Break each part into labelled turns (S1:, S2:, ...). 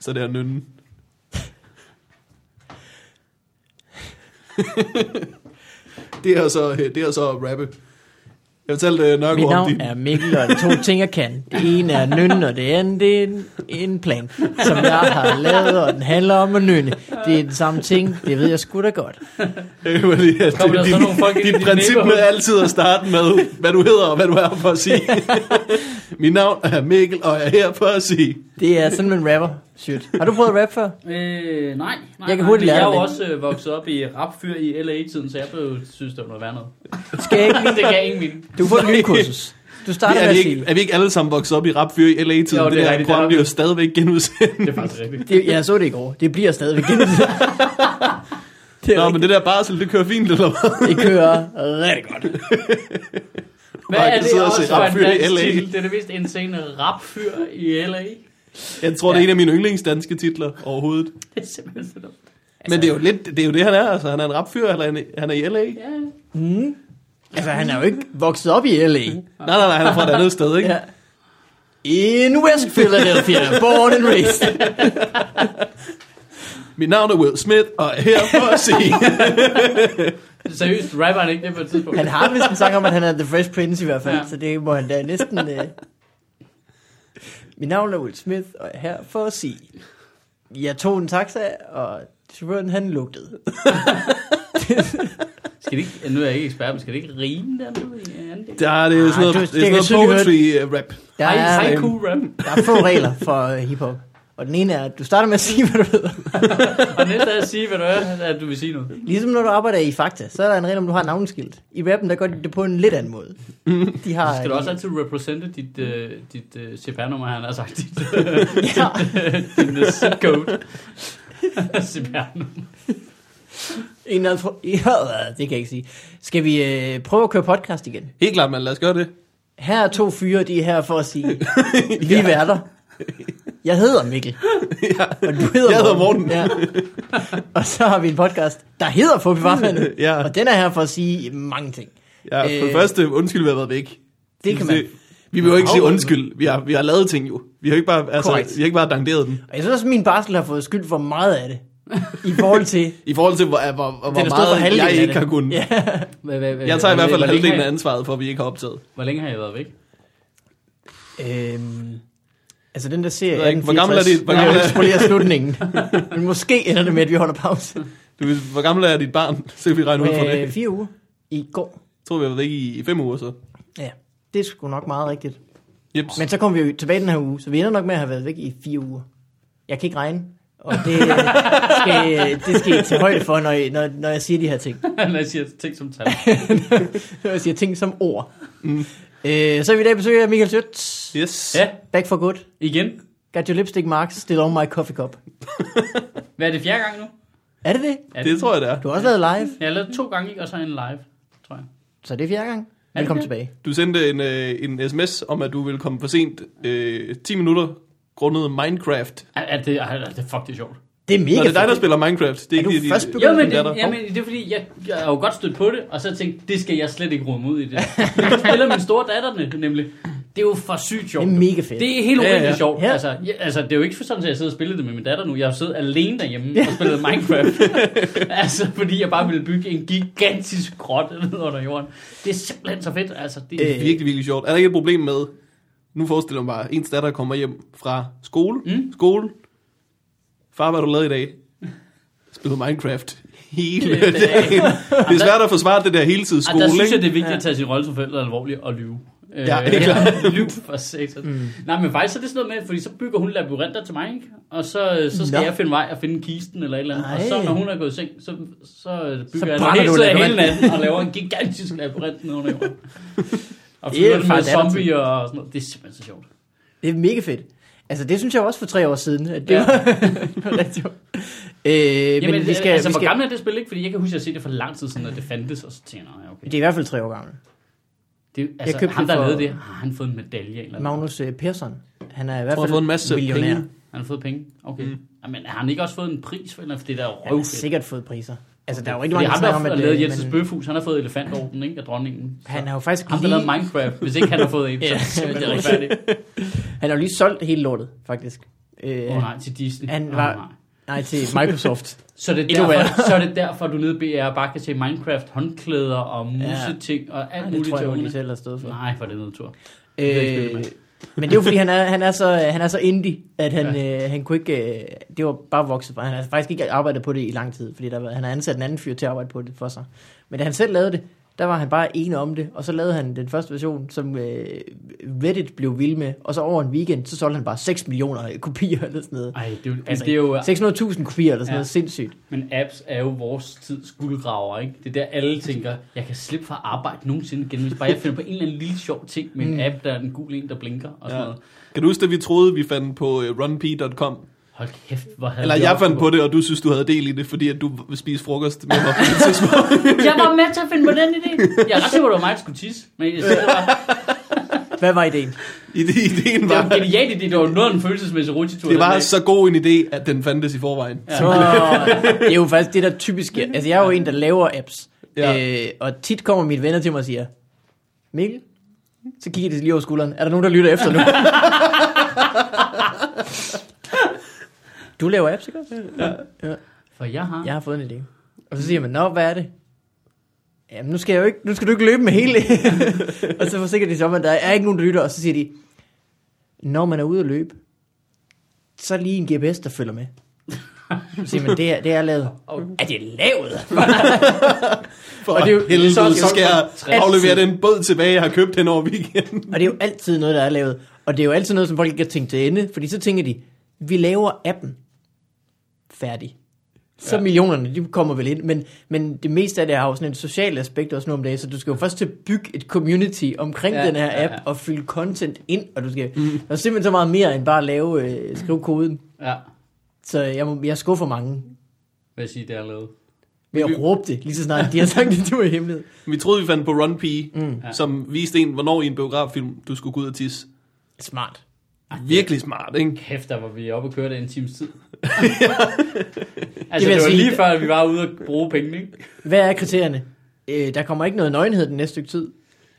S1: Så det er nynnen. det er så, øh, det er så at rappe. Jeg fortalte øh,
S2: Mit
S1: Nørgaard om
S2: navn
S1: din...
S2: er Mikkel, og der er to ting, jeg kan. Det ene er nynne, og det andet det er en, en plan, som jeg har lavet, og den handler om at nynne. Det er den samme ting, det ved jeg sgu da godt.
S1: Øh, men det er- det-
S3: Kommer der så
S1: dit-
S3: nogle folk ind i
S1: Dit
S3: din
S1: princip med
S3: neighborhood?
S1: altid at starte med, hvad du hedder og hvad du er her for at sige. Mit navn er Mikkel, og jeg er her for at sige.
S2: Det er sådan, man rapper. Shit. Har du prøvet at rappe før?
S3: Øh, nej, nej.
S2: Jeg kan
S3: nej,
S2: hurtigt
S3: men
S2: lære
S3: Jeg er
S2: det.
S3: jo også øh, vokset op i rapfyr i LA-tiden, så jeg blev synes, det var noget værd noget.
S2: Skal jeg ikke
S3: Det
S2: lige?
S3: gav ingen mening.
S2: Du får et nyt kursus. Du starter med
S1: Er
S2: at
S1: vi, ikke,
S2: sige.
S1: er vi ikke alle sammen vokset op i rapfyr i LA til
S3: Jo,
S1: det,
S3: det er
S1: det der
S3: rigtigt, det
S1: program
S3: er
S1: bliver
S3: rigtigt.
S1: stadigvæk genudsendt.
S3: Det er faktisk rigtigt.
S2: Det, jeg så det i går. Det bliver stadigvæk genudsendt. Det, er
S1: Nå,
S2: rigtigt.
S1: men det der barsel, det kører fint, eller hvad?
S2: det kører rigtig godt.
S3: Hvad
S1: Bare
S3: er
S1: kan sidde
S3: det
S1: og
S3: også
S1: se
S3: for en
S1: rapfyr i
S3: dansk
S1: LA?
S3: titel? Det er det mest insane rapfyr i LA. Det
S1: Jeg tror, det er en af mine yndlingsdanske titler overhovedet.
S3: er simpelthen så dumt.
S1: Men det er jo lidt, det er jo det, han er. Altså, han er en rapfyr, eller han, han er i LA.
S3: Ja,
S2: Mm. Altså, han er jo ikke vokset op i L.A.
S1: Nej, nej, nej, han er fra et andet sted, ikke?
S2: Ja. In West Philadelphia, born and raised.
S1: Mit navn er Will Smith, og jeg er her for at sige...
S3: Seriøst, rapper han ikke det på et tidspunkt?
S2: Han har vist en sang om, at han er The Fresh Prince i hvert fald, ja.
S3: Ja.
S2: så det må han da næsten... Øh... Mit navn er Will Smith, og jeg er her for at sige, jeg tog en taxa, og chaufføren han lugtede.
S3: Skal det ikke, nu er jeg ikke ekspert, men skal det ikke rime der nu i andet?
S1: Der er det er sådan noget,
S2: Ah, du-
S1: det,
S2: det kan
S1: er
S2: jeg
S1: sådan noget øh,
S2: tydeligt
S1: poetry-rap.
S2: Der
S3: Hej,
S2: er, øh,
S3: hej, cool rap.
S2: der er få regler for øh, hiphop. Og den ene er, at du starter med at sige, hvad du hedder.
S3: Og næste er at sige, hvad du er, at du vil sige noget.
S2: Ligesom når du arbejder i Fakta, så er der en regel om, du har navneskilt. I rappen, der gør de det på en lidt anden måde. De har,
S3: Så skal du også altid represente dit, uh, dit uh, CPR-nummer, han har sagt. Dit,
S2: øh, Ja.
S3: din uh, zip code. CPR-nummer.
S2: En eller anden... for- Ja, det kan jeg ikke sige. Skal vi øh, prøve at køre podcast igen?
S1: Helt klart, man. Lad os gøre det.
S2: Her er to fyre, de er her for at sige, vi er værter. Jeg hedder Mikkel. Ja. Og du hedder
S1: Jeg hedder Morten.
S2: Ja. Og så har vi en podcast, der hedder Fubi Varfandet.
S1: Ja.
S2: Og den er her for at sige mange ting.
S1: Ja, for det
S2: Øh,
S1: første, undskyld, vi har været væk.
S2: Det kan man.
S1: Vi vil jo ikke sige
S2: Afrundet.
S1: undskyld. Vi har, vi har lavet ting jo. Vi har ikke bare, altså,
S2: Korrekt.
S1: vi har ikke bare danderet den.
S2: Og jeg synes også, at min barsel har fået skyld for meget af det. I forhold til...
S1: I forhold til, hvor, hvor, hvor
S2: Den har stået for
S1: meget
S2: halvdelen
S1: jeg
S2: af
S1: ikke
S2: det.
S1: har kunnet.
S2: Ja.
S3: Hvad, hvad, hvad,
S1: Jeg tager i hvert fald
S3: hvor længe
S1: halvdelen
S3: har
S1: af
S3: I-
S1: ansvaret for, at vi ikke har optaget.
S3: Hvor længe har jeg været væk?
S2: Øhm, altså den der serie...
S1: Jeg ved ikke, hvor gammel er det- hvor gammel er-
S2: gammel er det? slutningen. Men måske ender det med, at vi holder pause.
S1: Du, hvor gammel er dit barn? Så kan vi regne ud fra det.
S2: Øh, fire uger. I går.
S1: Jeg tror, vi har været væk i, i fem uger så.
S2: Ja, det er sgu nok meget rigtigt.
S1: Jeps.
S2: Men så kommer vi jo tilbage den her uge, så vi ender nok med at have været væk i fire uger. Jeg kan ikke regne, og det øh, skal, øh, det skal I tage højde for, når, I, når, når jeg siger de her ting.
S3: Når jeg siger ting som tal.
S2: Når jeg siger ting som ord. Mm. Øh, så er vi i dag besøg af Michael Schøtz,
S1: Yes.
S3: Ja,
S2: Back for Good,
S3: igen.
S2: Got Your Lipstick Marks, Still On My Coffee Cup.
S3: Hvad er det fjerde gang nu?
S2: Er det det?
S3: Er
S1: Det tror jeg, det er.
S2: Du har også lavet live,
S3: Jeg har lavet to gange, ikke? Og så en live, tror jeg.
S2: så det er fjerde gang. Velkommen
S3: det?
S2: tilbage.
S1: Du sendte en, øh, en sms om, at du ville komme for sent øh, 10 minutter grundet Minecraft.
S3: Er, er det, er, er det, fuck, det er sjovt.
S2: Det er mega
S1: Nå, det er dig, der
S2: fedt.
S1: spiller Minecraft. Det er,
S2: Er
S1: ikke
S2: du
S1: lige,
S2: først
S1: dit-
S2: begyndt?
S3: Jo, men
S1: Det er
S3: det,
S1: der.
S3: jamen, det er fordi, jeg, jeg har jo godt stødt på det, og så tænkte, det skal jeg slet ikke rode mig ud i det. Jeg spiller min store datter det, nemlig. Det er jo for sygt sjovt.
S2: Det er mega fedt.
S3: Det er helt urimelig
S1: Ja,
S3: ja,
S1: ja.
S3: ja. sjovt.
S2: Ja.
S3: Ja. Altså, jeg, altså, det er jo ikke for sådan, at jeg sidder og spiller det med min datter nu. Jeg har siddet alene derhjemme ja. og spillet Minecraft. altså, fordi jeg bare ville bygge en gigantisk grot ned under jorden. Det er simpelthen så fedt. Altså, det er
S1: Det er virkelig, virkelig sjovt. Er der ikke et problem med, nu forestiller jeg mig bare, ens datter kommer hjem fra skole, mm. skole, far, hvad har du lavet i dag? Spillet Minecraft hele dagen. Det er svært at forsvare det der hele tiden
S3: Ej,
S1: skole,
S3: der synes jeg,
S1: ikke?
S3: det er vigtigt ja. at tage sin rolle som forælder alvorligt og lyve.
S1: Ja, det er klart.
S3: lyve for satan. Mm. Nej, men faktisk så er det sådan noget med, fordi så bygger hun labyrinter til mig, ikke? Og så, øh, så skal
S2: Nå.
S3: Nå. jeg finde vej og finde kisten eller et eller andet. Ej. Og
S2: Ej.
S3: så når hun er gået i seng, så, så
S2: Så
S3: bygger jeg
S2: brænder
S3: den
S2: du
S3: hele, sidder hele
S2: labyrinten.
S3: natten og laver en gigantisk labyrint nede under jorden. Og
S2: Det er
S3: fylder den
S2: fra
S3: med
S2: et andet
S3: zombie og sådan noget. Det er simpelthen så sjovt.
S2: Det er mega fedt. Altså, det synes jeg også for tre år siden, at det ja.
S3: Ja.
S2: var rigtig sjovt. øh,
S3: Jamen,
S2: men vi skal,
S3: altså,
S2: vi skal,
S3: hvor gammel er det spil ikke? Fordi jeg kan huske, at jeg har set det for lang tid siden, at det fandtes, og så tænker jeg, nej, okay.
S2: det er i hvert fald tre år gammel.
S3: Det, altså,
S2: købte
S3: ham,
S2: det
S3: der
S2: for-
S3: lavede det, har han fået en medalje? Eller noget?
S2: Magnus øh, Persson. Han er i
S1: Jeg
S2: hvert
S1: tror, jeg har fået en masse
S2: fald millionær.
S1: penge.
S3: Han har fået penge? Okay. Mm. Jamen, har han ikke også fået en pris for en eller anden- fordi det der
S2: Han har
S3: røvfedt?
S2: sikkert fået priser. Altså, der er jo rigtig
S3: Fordi
S2: mange, der
S3: ham, der
S2: snakker om,
S3: har
S2: at
S3: lavet
S2: øh,
S3: Jensens
S2: men
S3: Bøfhus, han har fået elefantorden, ikke? Af dronningen.
S2: han har jo faktisk
S3: Ham, der
S2: lige,
S3: lavede Minecraft, hvis ikke han har fået en, så
S2: Ja,
S3: er det simpelthen
S2: det er
S3: retfærdigt.
S2: han har jo lige solgt hele lortet, faktisk. Øh,
S3: Åh oh, nej, til Disney.
S2: Han
S3: Åh,
S2: var-
S3: nej.
S2: nej, til Microsoft.
S3: Så det, er
S2: Endnu
S3: derfor,
S2: værre.
S3: så er det derfor, du nede i BR bare kan se Minecraft håndklæder og museting og alt
S2: Ja, det
S3: muligt
S2: tror
S3: til
S2: jeg, hun
S3: ungerne.
S2: selv har stået for.
S3: Nej, for det er noget tur.
S2: Øh, men det er jo fordi, han er, han er, så, øh, han er så indie, at han, ja. øh, han kunne ikke, øh, det var bare vokset fra. Han har faktisk ikke arbejdet på det i lang tid, fordi der, var- han har ansat en anden fyr til at arbejde på det for sig. Men da han selv lavede det, der var han bare ene om det, og så lavede han den første version, som øh, Reddit blev vild med, og så over en weekend, så solgte han bare 6 millioner kopier eller sådan noget.
S3: Ej, det er jo, altså,
S2: Altså,
S3: det er jo
S2: 600.000 kopier eller sådan
S3: Ja.
S2: ja. noget, sindssygt.
S3: Men apps er jo vores tids guldgraver, ikke? Det er der, alle tænker, jeg kan slippe fra arbejde nogensinde igen, hvis bare jeg finder på en eller anden lille sjov ting med en
S2: Mm.
S3: app, der er en gul en, der blinker og sådan
S1: Ja.
S3: noget.
S1: Kan du huske, at vi troede, vi fandt på øh, runp.com?
S3: Hold kæft, hvor havde
S1: Eller
S3: vi
S1: jeg
S3: også-
S1: fandt på det, og du synes, du havde del i det, fordi at du vil spise frokost med mig.
S3: Jeg var med til at finde på den idé. Jeg er ret sikker på, at det var mig, der skulle tisse. Men jeg synes, det var,
S2: Hvad var ideen?
S1: Ide- Ideen
S3: det var en
S1: var,
S3: genial idé. Det var noget af en følelsesmæssig rutsjetur.
S1: det
S3: den
S1: var
S3: dag.
S1: så god en idé, at den fandtes i forvejen.
S2: Så, det er jo faktisk det, der typisk sker. Altså, jeg er jo en, der laver apps.
S1: Ja.
S2: Ja. Øh, og tit kommer mine venner til mig og siger, Mikkel, så kigger de lige over skulderen. Er der nogen, der lytter efter nu? du laver apps, ikke også?
S3: For jeg har...
S2: Jeg har fået en idé. Og så siger man, nå, hvad er det? Jamen, nu skal, jeg jo ikke, nu skal du ikke løbe med hele. og så forsikrer de sig om, at der er ikke nogen, der lytter. Og så siger de, når man er ude at løbe, så er lige en GPS, der følger med. Så siger man, det er, det er lavet.
S3: Og-
S2: Er det lavet?
S1: For
S2: Og
S1: og
S2: det er jo-
S1: helvede,
S2: så-
S1: så, skal jeg
S3: altid.
S1: aflevere den båd tilbage, jeg har købt hen over weekenden.
S2: Og det er jo altid noget, der er lavet. Og det er jo altid noget, som folk ikke har tænkt til ende. Fordi så tænker de, vi laver appen. Færdig. Så ja. millionerne, de kommer vel ind. Men, men det meste af det har jo sådan et socialt aspekt også nu om dagen. Så du skal jo først til at bygge et community omkring
S3: Ja,
S2: ja, den her
S3: ja,
S2: app.
S3: ja.
S2: Ja, Og fylde content ind. Og du skal, mm. der er simpelthen så meget mere, end bare at lave, øh, skrive koden.
S3: Ja,
S2: Så jeg, må, jeg skuffer mange
S3: vil jeg sige, det er lavet.
S2: ved
S1: Vi-
S2: at råbe det, lige så snart de har sagt det, du er hemmelighed.
S1: Vi troede, vi fandt på Run P, mm.
S3: Ja.
S1: som viste en, hvornår i en biograffilm, du skulle gå ud og tisse.
S2: Smart.
S1: Virkelig smart, ikke?
S3: Kæft, der var vi oppe og køre det en times tid.
S2: Det vil
S3: altså, det,
S2: jeg
S3: var
S2: sige.
S3: lige før, at vi var ude og bruge penge, ikke?
S2: Hvad er kriterierne? Øh, der kommer ikke noget nøgenhed den næste stykke tid.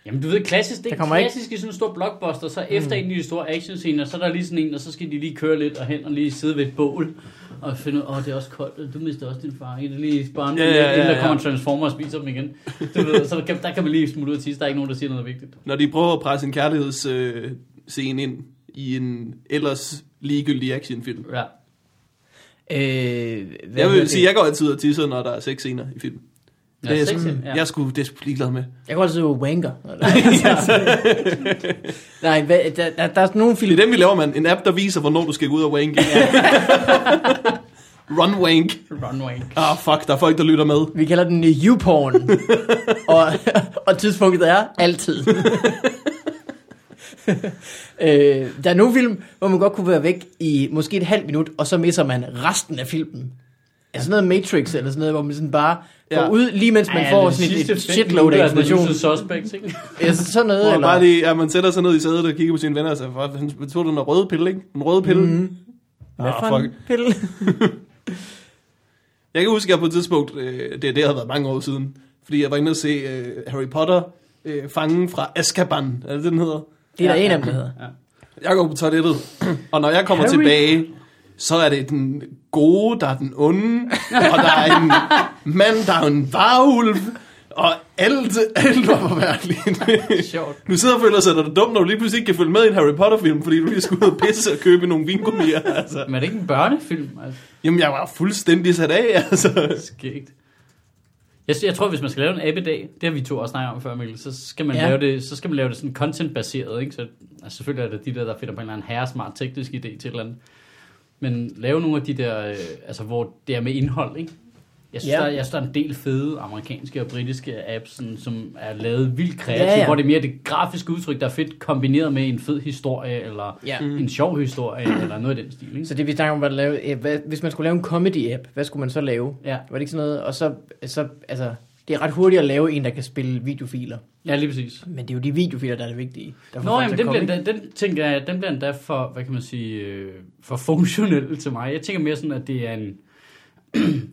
S3: Jamen, du ved, klassisk, det
S2: Der
S3: er
S2: kommer ikke- Mm.
S3: klassisk i sådan en stor blockbuster, så efter en af de store actionscener, så er der lige sådan en, og så skal de lige køre lidt og hen og lige sidde ved et bål, og finde ud af, åh, det er også koldt, og du mister også din far, ikke? Det er lige bare ja, ja, ja, ja. inden der kommer en Transformer og spiser dem igen. Du ved, så kan, der kan man lige smutte ud og tisse, der er ikke nogen, der siger noget vigtigt.
S1: Når de prøver at presse en kærlighedsscene øh, scene ind i en ellers ligegyldig actionfilm.
S3: Ja.
S2: Øh, hvad
S1: Jeg
S2: hedder
S1: vil
S2: det?
S1: sige, jeg går altid ud og tisser, når der er sexscener i film.
S3: Ja,
S1: Det er
S3: sex,
S1: sådan,
S3: ja.
S1: Jeg skulle det er sgu ligeglad med.
S2: Jeg kan godt sidde og wanker. altså, Nej, hvad, der, der, der er sådan nogle
S1: Det
S2: film...
S1: er dem, vi laver, mand. En app, der viser, hvornår du skal gå ud og wank. Run wank.
S3: Runway.
S1: Ah, fuck, der er folk, der lytter med.
S2: Vi kalder den øh, YouPorn. og, og tidspunktet er altid. øh, der er nogle film, hvor man godt kunne være væk i måske et halvt minut, og så misser man resten af filmen. Altså sådan noget Matrix eller sådan noget, hvor man sådan bare går
S1: Ja.
S2: ud, lige mens man
S3: Ej,
S2: får
S3: den
S2: sådan et,
S3: sidste
S2: et
S3: fem
S2: shitload af
S3: minutter er The
S2: information.
S3: Usual Suspects, ikke?
S2: Altså sådan noget,
S1: ligesom- Hvor
S2: eller...
S1: bare lige, at man sætter sig ned i sædet og kigger på sine venner og siger, "Fuck, han tog den der røde pille, ikke? Den røde pille.
S2: Mhm. Mm.
S1: Mm-hmm.
S2: Hvad
S1: Ah,
S2: for en
S1: fuck.
S2: pille?
S1: Jeg kan huske, at jeg på et tidspunkt, øh, det, det har været mange år siden, fordi jeg var inde og se øh, Harry Potter, øh, fangen fra Azkaban, er det det, den hedder?
S2: Det er der en af dem, der hedder.
S1: Jeg går på toilettet, og når jeg kommer
S2: Harry?
S1: Harry. tilbage, så er det den gode, der er den onde, og der er en mand, der er en varulv, og alt, alt var forfærdeligt.
S3: Sjovt.
S1: Du sidder og føler sig dig dum, når du lige pludselig ikke kan følge med i en Harry Potter-film, fordi du lige skulle ud og pisse og købe nogle vingummier. Altså.
S3: Men er det ikke en børnefilm? Altså,
S1: Jamen, jeg var fuldstændig sat af, altså.
S3: skægt. Jeg, jeg tror, hvis man skal lave en app i dag, det har vi to også snakket om før, Mikkel, så skal man,
S2: Ja.
S3: ja. lave, det, så skal man lave det sådan content-baseret. Ikke? Så, altså, selvfølgelig er det de der, der finder på en eller anden herresmart teknisk idé til et eller andet. Men lave nogle af de der, øh, altså, hvor det er med indhold, ikke? Jeg synes,
S2: Ja.
S3: ja. der, jeg synes, der er en del fede amerikanske og britiske apps, sådan, som er lavet vildt kreativt,
S2: Ja,
S3: ja,
S2: ja.
S3: ja. hvor det er mere det grafiske udtryk, der er fedt kombineret med en fed historie, eller
S2: Ja. Mm.
S3: ja. en sjov historie, eller noget af den stil. Ikke?
S2: Så det vi snakker om, var at lave, eh, hvad, hvis man skulle lave en comedy-app, hvad skulle man så lave?
S3: Ja.
S2: Var det ikke sådan noget? Og så, så, altså, det er ret hurtigt at lave en, der kan spille videofiler.
S3: ja, lige præcis.
S2: Men det er jo de videofiler, der er det vigtige. Der får
S3: Nå,
S2: folk til
S3: jamen, den,
S2: at
S3: bliver,
S2: komme,
S3: den, den tænker jeg, den bliver endda for, hvad kan man sige, øh, for funktionel til mig. Jeg tænker mere sådan, at det er en,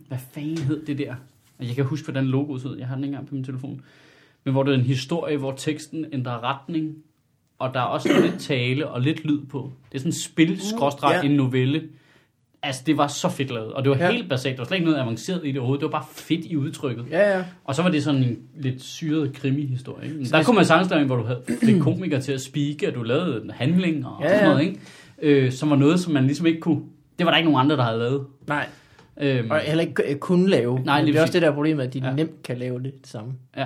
S3: hvad fanden hed det der? Og jeg kan huske, hvordan logoet hed, jeg har den ikke engang på min telefon. Men hvor det er en historie, hvor teksten ændrer retning, og der er også lidt tale og lidt lyd på. Det er sådan et spil, skråstreg,
S2: Uh, ja.
S3: en novelle. Altså, det var så fedt lavet, og det var
S2: Ja.
S3: ja. helt basalt. Der var slet ikke noget avanceret i det overhovedet. Det var bare fedt i udtrykket.
S2: Ja, ja.
S3: Og så var det sådan en lidt syret krimi-historie. Ikke? Men Der kunne man sagtens lave en, hvor du havde fik komikere til at speake, og du lavede en handling og
S2: Ja,
S3: ja, sådan
S2: ja.
S3: noget, ikke? Øh, som var noget, som man ligesom ikke kunne... Det var der ikke nogen andre, der havde lavet.
S2: Nej,
S3: Øhm,
S2: og heller ikke øh, kunne lave.
S3: Nej,
S2: Men
S3: lige
S2: det er også
S3: præcis.
S2: det der problem, at de ja.
S3: Ja.
S2: nemt kan lave det, det samme.
S3: ja.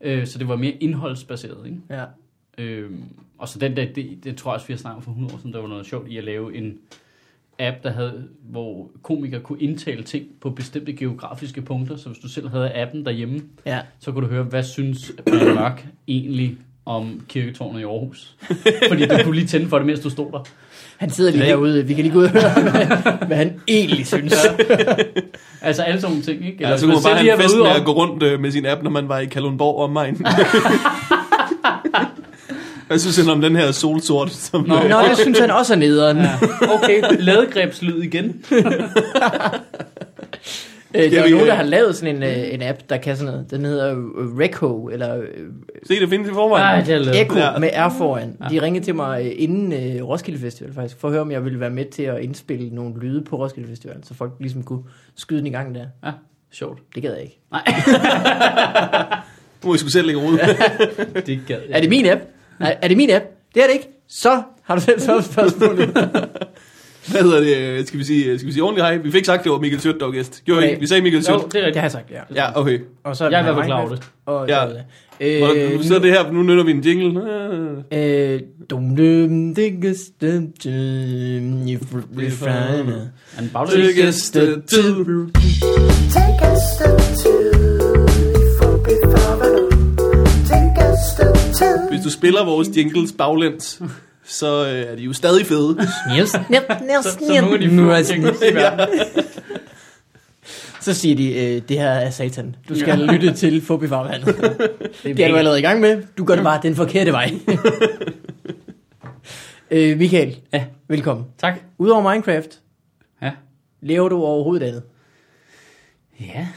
S3: øh, så det var mere indholdsbaseret, ikke?
S2: Ja.
S3: Øhm, og så den der, det, det tror jeg også, vi har snakket om for 100 år siden, der var noget sjovt i at lave en app, der havde, hvor komikere kunne indtale ting på bestemte geografiske punkter, så hvis du selv havde appen derhjemme,
S2: Ja.
S3: så kunne du høre, hvad synes Brian Mørk egentlig om kirketårnet i Aarhus? Fordi du kunne lige tænde for det, mens du stod der.
S2: Han sidder lige
S3: Ja, ikke?
S2: derude. Vi kan lige gå ud og høre, hvad- hvad han egentlig synes.
S3: Altså alle sådan nogle ting, ikke?
S1: Ja, så kunne man bare have en fest med at gå rundt øh, med sin app, når man var i Kalundborg og omegn. Hvad synes han om den her solsort? Som,
S3: Nå.
S1: Nå.
S2: Nå, jeg synes, han også er nederen. Ja.
S3: Okay, ladegrebslyd igen.
S2: Øh, der
S1: Skal
S2: er
S1: vi,
S2: nogen,
S1: øh,
S2: der har lavet sådan en, øh, en app, der kan sådan noget. Den hedder øh, Reco, eller øh,
S1: Se, det findes i forvejen.
S3: Nej, det er lavet.
S2: Echo
S1: Ja.
S2: med R foran. De ringede til mig øh, inden øh, Roskilde Festival faktisk, for at høre, om jeg ville være med til at indspille nogle lyde på Roskilde Festival, så folk ligesom kunne skyde den i gang der.
S3: Ja, sjovt.
S2: Det gad jeg ikke.
S3: Nej,
S1: Nu må jeg sgu selv lægge ud.
S3: det gad
S2: Er det min app? Nej, er det min app? Det er det ikke. Så har du selv svaret på spørgsmålet.
S1: Hvad hedder det? Øh, Skal vi sige, skal vi sige ordentligt hej? Vi fik sagt, det var Michael Sødt, der var gæst. Gjorde vi
S2: Nej.
S1: ikke? Vi sagde Michael
S3: Jo, Øh,
S1: Sødt.
S3: det er
S2: det
S3: rigtigt.
S2: har jeg sagt, ja.
S1: Ja, okay.
S2: Og så er
S3: Jeg er
S2: den
S3: i hvert
S2: her
S3: fald klar over
S2: Minecraft, Og,
S1: Ja.
S2: ja.
S1: Og
S2: Øh,
S1: nu sidder det her, nu nytter vi en jingle. Øh.
S2: Øh, dum dum dikkes dum dum i refrainer.
S3: Han bagler lige.
S1: Tykkeste tid.
S4: Take a step two before before Take a step two.
S1: Hvis du spiller vores jingles baglæns, så øh, er de jo stadig fede.
S2: Yes. Yep, yes,
S3: Så, så nogle af de
S2: Nu er jeg
S3: fede ting,
S2: sådan-
S3: i verden.
S2: Så siger de, øh, det her er satan. Du skal lytte til Fobi Farvandet. Det er du allerede i gang med. Du gør det bare den forkerte vej. øh, Michael,
S3: Ja.
S2: velkommen.
S3: Tak.
S2: Udover Minecraft,
S3: Ja.
S2: laver du overhovedet andet.
S3: Ja.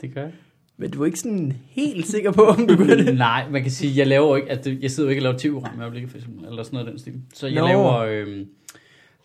S3: Det gør jeg.
S2: Men du er ikke sådan helt sikker på, om du gør det.
S3: Nej, man kan sige, jeg laver jo ikke, at det, jeg sidder jo ikke og laver tv-program i øjeblikket, for eksempel, eller sådan noget af den stil. Så jeg
S2: Nå.
S3: no. laver, øh,